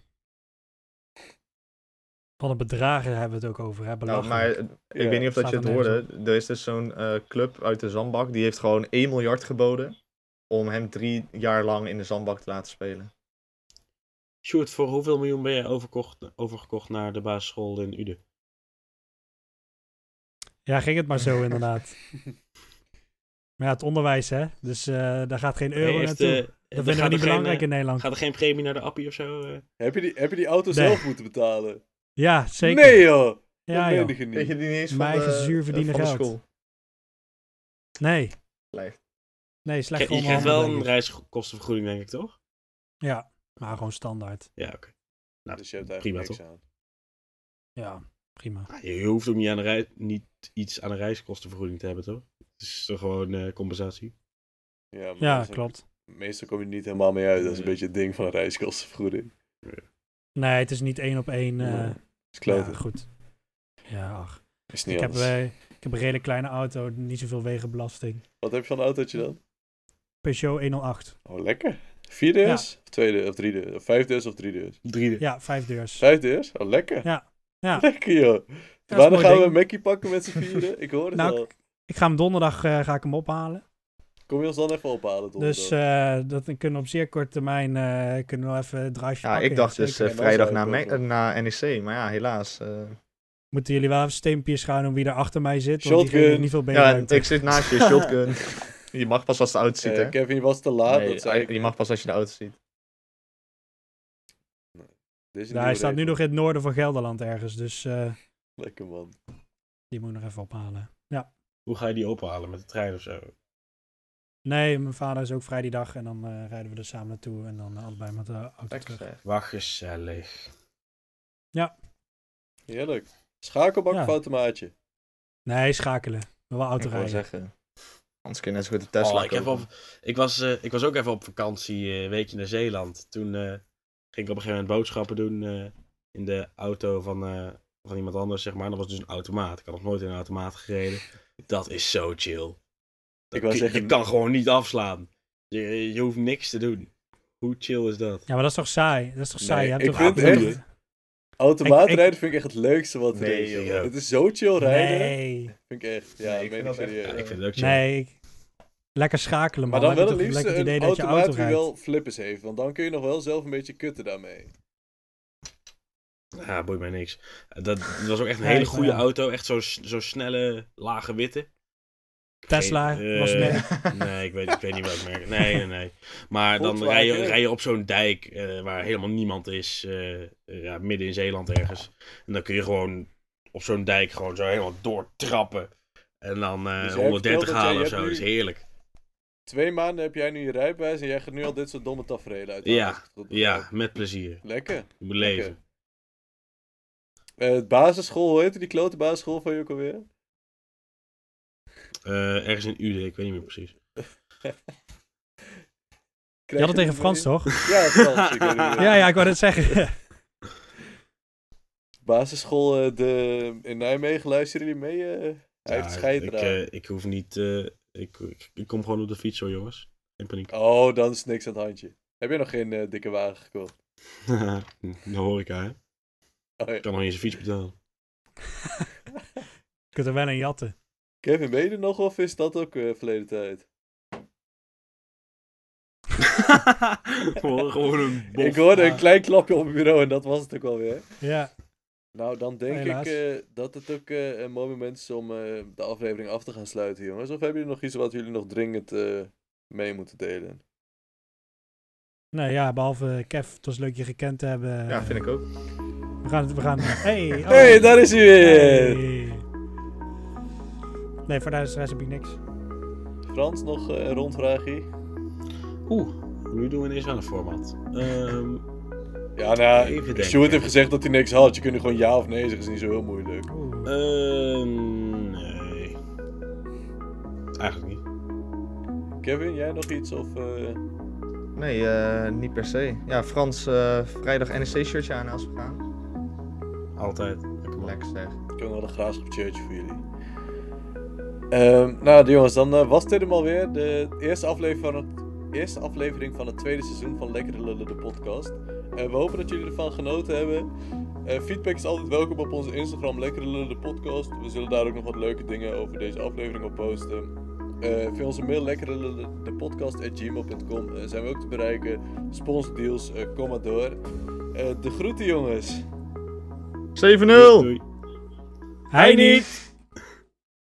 Van de bedragen hebben we het ook over. Hè?
Nou,
Belachelijk.
maar eh, ik
Ja.
weet niet of dat
Staat
je het
er
hoorde.
nergens
Er is dus zo'n eh, club uit de zandbak. Die heeft gewoon 1 miljard geboden. Om hem drie jaar lang in de zandbak te laten spelen.
Sjoerd, voor hoeveel miljoen ben jij overkocht, overgekocht naar de basisschool in Uden?
Ja, ging het maar zo inderdaad. maar ja, het onderwijs, hè. Dus eh, daar gaat geen euro
Heeft,
naartoe.
eh,
dat
er
vinden we
gaat er
niet
geen,
belangrijk
eh,
in Nederland.
Gaat er geen premie naar de appie of zo? eh?
Heb je die, heb je die auto
Nee.
zelf moeten betalen?
Ja, zeker.
Nee joh!
ja,
dat
joh.
meen je
Weet
niet.
je die niet eens van
Mijn
de,
eigen zuur
eh,
verdienen
van de
geld.
school?
Nee.
Slecht.
Nee, slecht
je
voor
krijgt wel een
onderhandelen,
reiskostenvergoeding, denk ik, toch?
Ja, maar gewoon standaard.
Ja, oké. Nou,
Dus je hebt eigenlijk
prima,
niks aan.
Ja, prima.
Nou, je hoeft ook niet, aan de rei- niet iets aan een reiskostenvergoeding te hebben, toch? Het is toch gewoon eh, compensatie?
Ja, maar
Ja,
meestal-
klopt.
Meestal kom je er niet helemaal mee uit. Dat is een
Nee.
beetje het ding van een reiskostenvergoeding.
Nee, het is niet één op één. eh,
Nee.
Is
ja,
kloten.
goed. Ja, ach.
is niet
Ik heb,
anders.
eh, ik heb een redelijk kleine auto, niet zoveel wegenbelasting.
Wat heb je van een autootje dan?
Peugeot 108.
Oh, lekker. Vier deurs? Of twee deurs? Of drie deurs? Of vijf deurs of drie deurs?
Drie.
Ja, vijf deurs.
Vijf deurs? Oh, lekker.
Ja. Ja.
Lekker, joh.
Ja,
Wanneer
mooi
gaan we
ding.
een Mackie pakken met z'n vieren? Ik hoor het
Nou,
al.
Ik ga hem donderdag eh, ga ik hem ophalen.
Kom je ons dan even ophalen, Tom?
Dus eh, dat dan kunnen we op zeer korte termijn eh, kunnen we wel even een drive
Ja, ik dacht dus eh,
zeker. En dan
vrijdag
zou
na,
ik ook
Me-
wel.
eh, na NEC. Maar ja, helaas. eh.
Moeten jullie wel even steempjes gaan om wie er achter mij zit? Want diegene
Shotgun.
heeft niet veel beter.
ja, ik zit naast
eh,
je, shotgun. je mag pas als de auto ziet,
Eh,
hè?
Kevin, je was te laat.
Nee,
dat zei ik.
je mag pas als je de auto ziet.
Dit is een
Nou, hij
nieuwe
staat nu
regel.
nog in het noorden van Gelderland ergens, dus eh,
Lekker, man.
die moet ik nog even ophalen.
Hoe ga je die ophalen? Met de trein of zo?
Nee, mijn vader is ook vrij die dag en dan eh, rijden we er samen naartoe en dan eh, allebei met de auto terug.
Lekker.
Wacht gezellig.
Heerlijk. Schakelbak
Ja.
of automaatje?
Nee, schakelen. Maar wel auto
Ik wou
rijden.
zeggen. Anders kun je net zo goed de Tesla
Oh, ik, heb
kopen.
op, ik, was, eh, ik was ook even op vakantie, eh, een weekje naar Zeeland. Toen eh, ging ik op een gegeven moment boodschappen doen eh, in de auto van eh, van iemand anders, zeg maar. Dat was dus een automaat. Ik had nog nooit in een automaat gereden. Dat is zo chill. Dat
Ik wou
kun-
zeggen-
je kan gewoon niet afslaan. Je, je hoeft niks te doen. Hoe chill is dat?
Ja, maar dat is toch saai? Dat is toch
Nee,
saai? Je hebt
ik
toch-
vind
je hebt
echt-
toch- Ik- ik-
Automaatrijden vind ik echt het leukste wat er
Nee,
is.
joh.
Het is zo chill rijden.
Nee,
Vind ik echt. Ja,
Nee,
ik
ik
meen ik
vind dat echt-
serieus.
Ja, ik vind het ook chill.
nee. ik- Lekker schakelen,
Maar
man.
dan
Heb je
wel het
toch
liefst
lekker het idee
een
dat je
automaat
auto
die
rijdt.
wel flippers heeft. Want dan kun je nog wel zelf een beetje kutten daarmee.
Ja, boeit mij niks. Dat, dat was ook echt een
Nee,
hele
maar
goede
ja.
auto. Echt zo'n zo snelle, lage witte.
Tesla
Geen-
was
eh,
merk.
Nee, ik weet, ik weet niet welk merk. Nee, nee, nee. Maar dan
Volkswagen.
rij je, rij je op zo'n dijk eh, waar helemaal niemand is. eh, eh, ja, midden in Zeeland ergens. En dan kun je gewoon op zo'n dijk gewoon zo helemaal doortrappen. En dan eh,
Dus jij vertelt dat
130
jij-
halen of
je
zo.
hebt
Dat is
nu-
heerlijk.
Twee maanden heb jij nu je rijbewijs en jij gaat nu al dit soort domme tafereelen uit.
Ja,
als ik het goed
Ja,
begrijp.
met plezier.
Lekker.
Je moet leven.
Eh, het basisschool, hoe heette die klote basisschool van je ook alweer?
Eh, ergens in Uden, ik weet niet meer precies.
Je had het tegen Frans, toch?
Ja, Frans. ik weet het niet meer.
Ja, ja, ik wou dat zeggen.
Basisschool eh, de... in Nijmegen, luisteren jullie mee? eh? Hij heeft
Ja,
scheid
ik,
eraan.
eh, ik hoef niet. eh, ik, ik, ik kom gewoon op de fiets hoor, jongens. In paniek.
Oh, dan is niks aan het handje. Heb je nog geen eh, dikke wagen gekocht?
de horeca, hè? Ik
Oh, ja.
kan nog niet eens een fiets betalen.
Je kunt er wel een jatten.
Kevin, ben je er nog of is dat ook eh, verleden tijd?
gewoon, gewoon een bof.
ik hoorde
ja.
een klein klapje op het bureau en dat was het ook alweer.
Ja.
Nou, dan denk
Helaas.
ik eh, dat het ook eh, een mooi moment is om eh, de aflevering af te gaan sluiten, jongens. Of hebben jullie nog iets wat jullie nog dringend eh, mee moeten delen?
Nou ja, behalve eh, Kev, het was leuk je gekend te hebben.
Ja, vind ik ook.
We gaan... We gaan... Hey, oh.
hey, daar is hij weer!
Hey. Nee, voor de rest heb ik niks.
Frans, nog eh, een rondvraagie?
Oeh, nu doen we ineens wel een format. Ehm,
Ja, nou,
Even denken.
Stuart heeft gezegd dat hij niks had. Je kunt er gewoon ja of nee zeggen, is niet zo heel moeilijk.
Oeh.
ehm, nee. Eigenlijk niet.
Kevin, jij nog iets? Of, eh,
Nee, eh, niet per se. Ja, Frans, eh, vrijdag NEC-shirtje aan als we gaan.
Altijd. Lekker man.
Lekker zeg.
Ik heb nog wel een graafschap shirtje voor jullie. Ehm, nou jongens, dan eh, was dit hem alweer. De eerste aflevering, van het, eerste aflevering van het tweede seizoen van Lekkere Lullen, de podcast. Eh, we hopen dat jullie ervan genoten hebben. Eh, feedback is altijd welkom op onze Instagram Lekkere Lullen, de podcast. We zullen daar ook nog wat leuke dingen over deze aflevering op posten. Eh via onze mail lekkere lullen, de podcast at gmail.com eh, zijn we ook te bereiken. Sponsordeals, eh kom maar door. Eh, de groeten jongens.
7-0!
Doei.
Hij niet!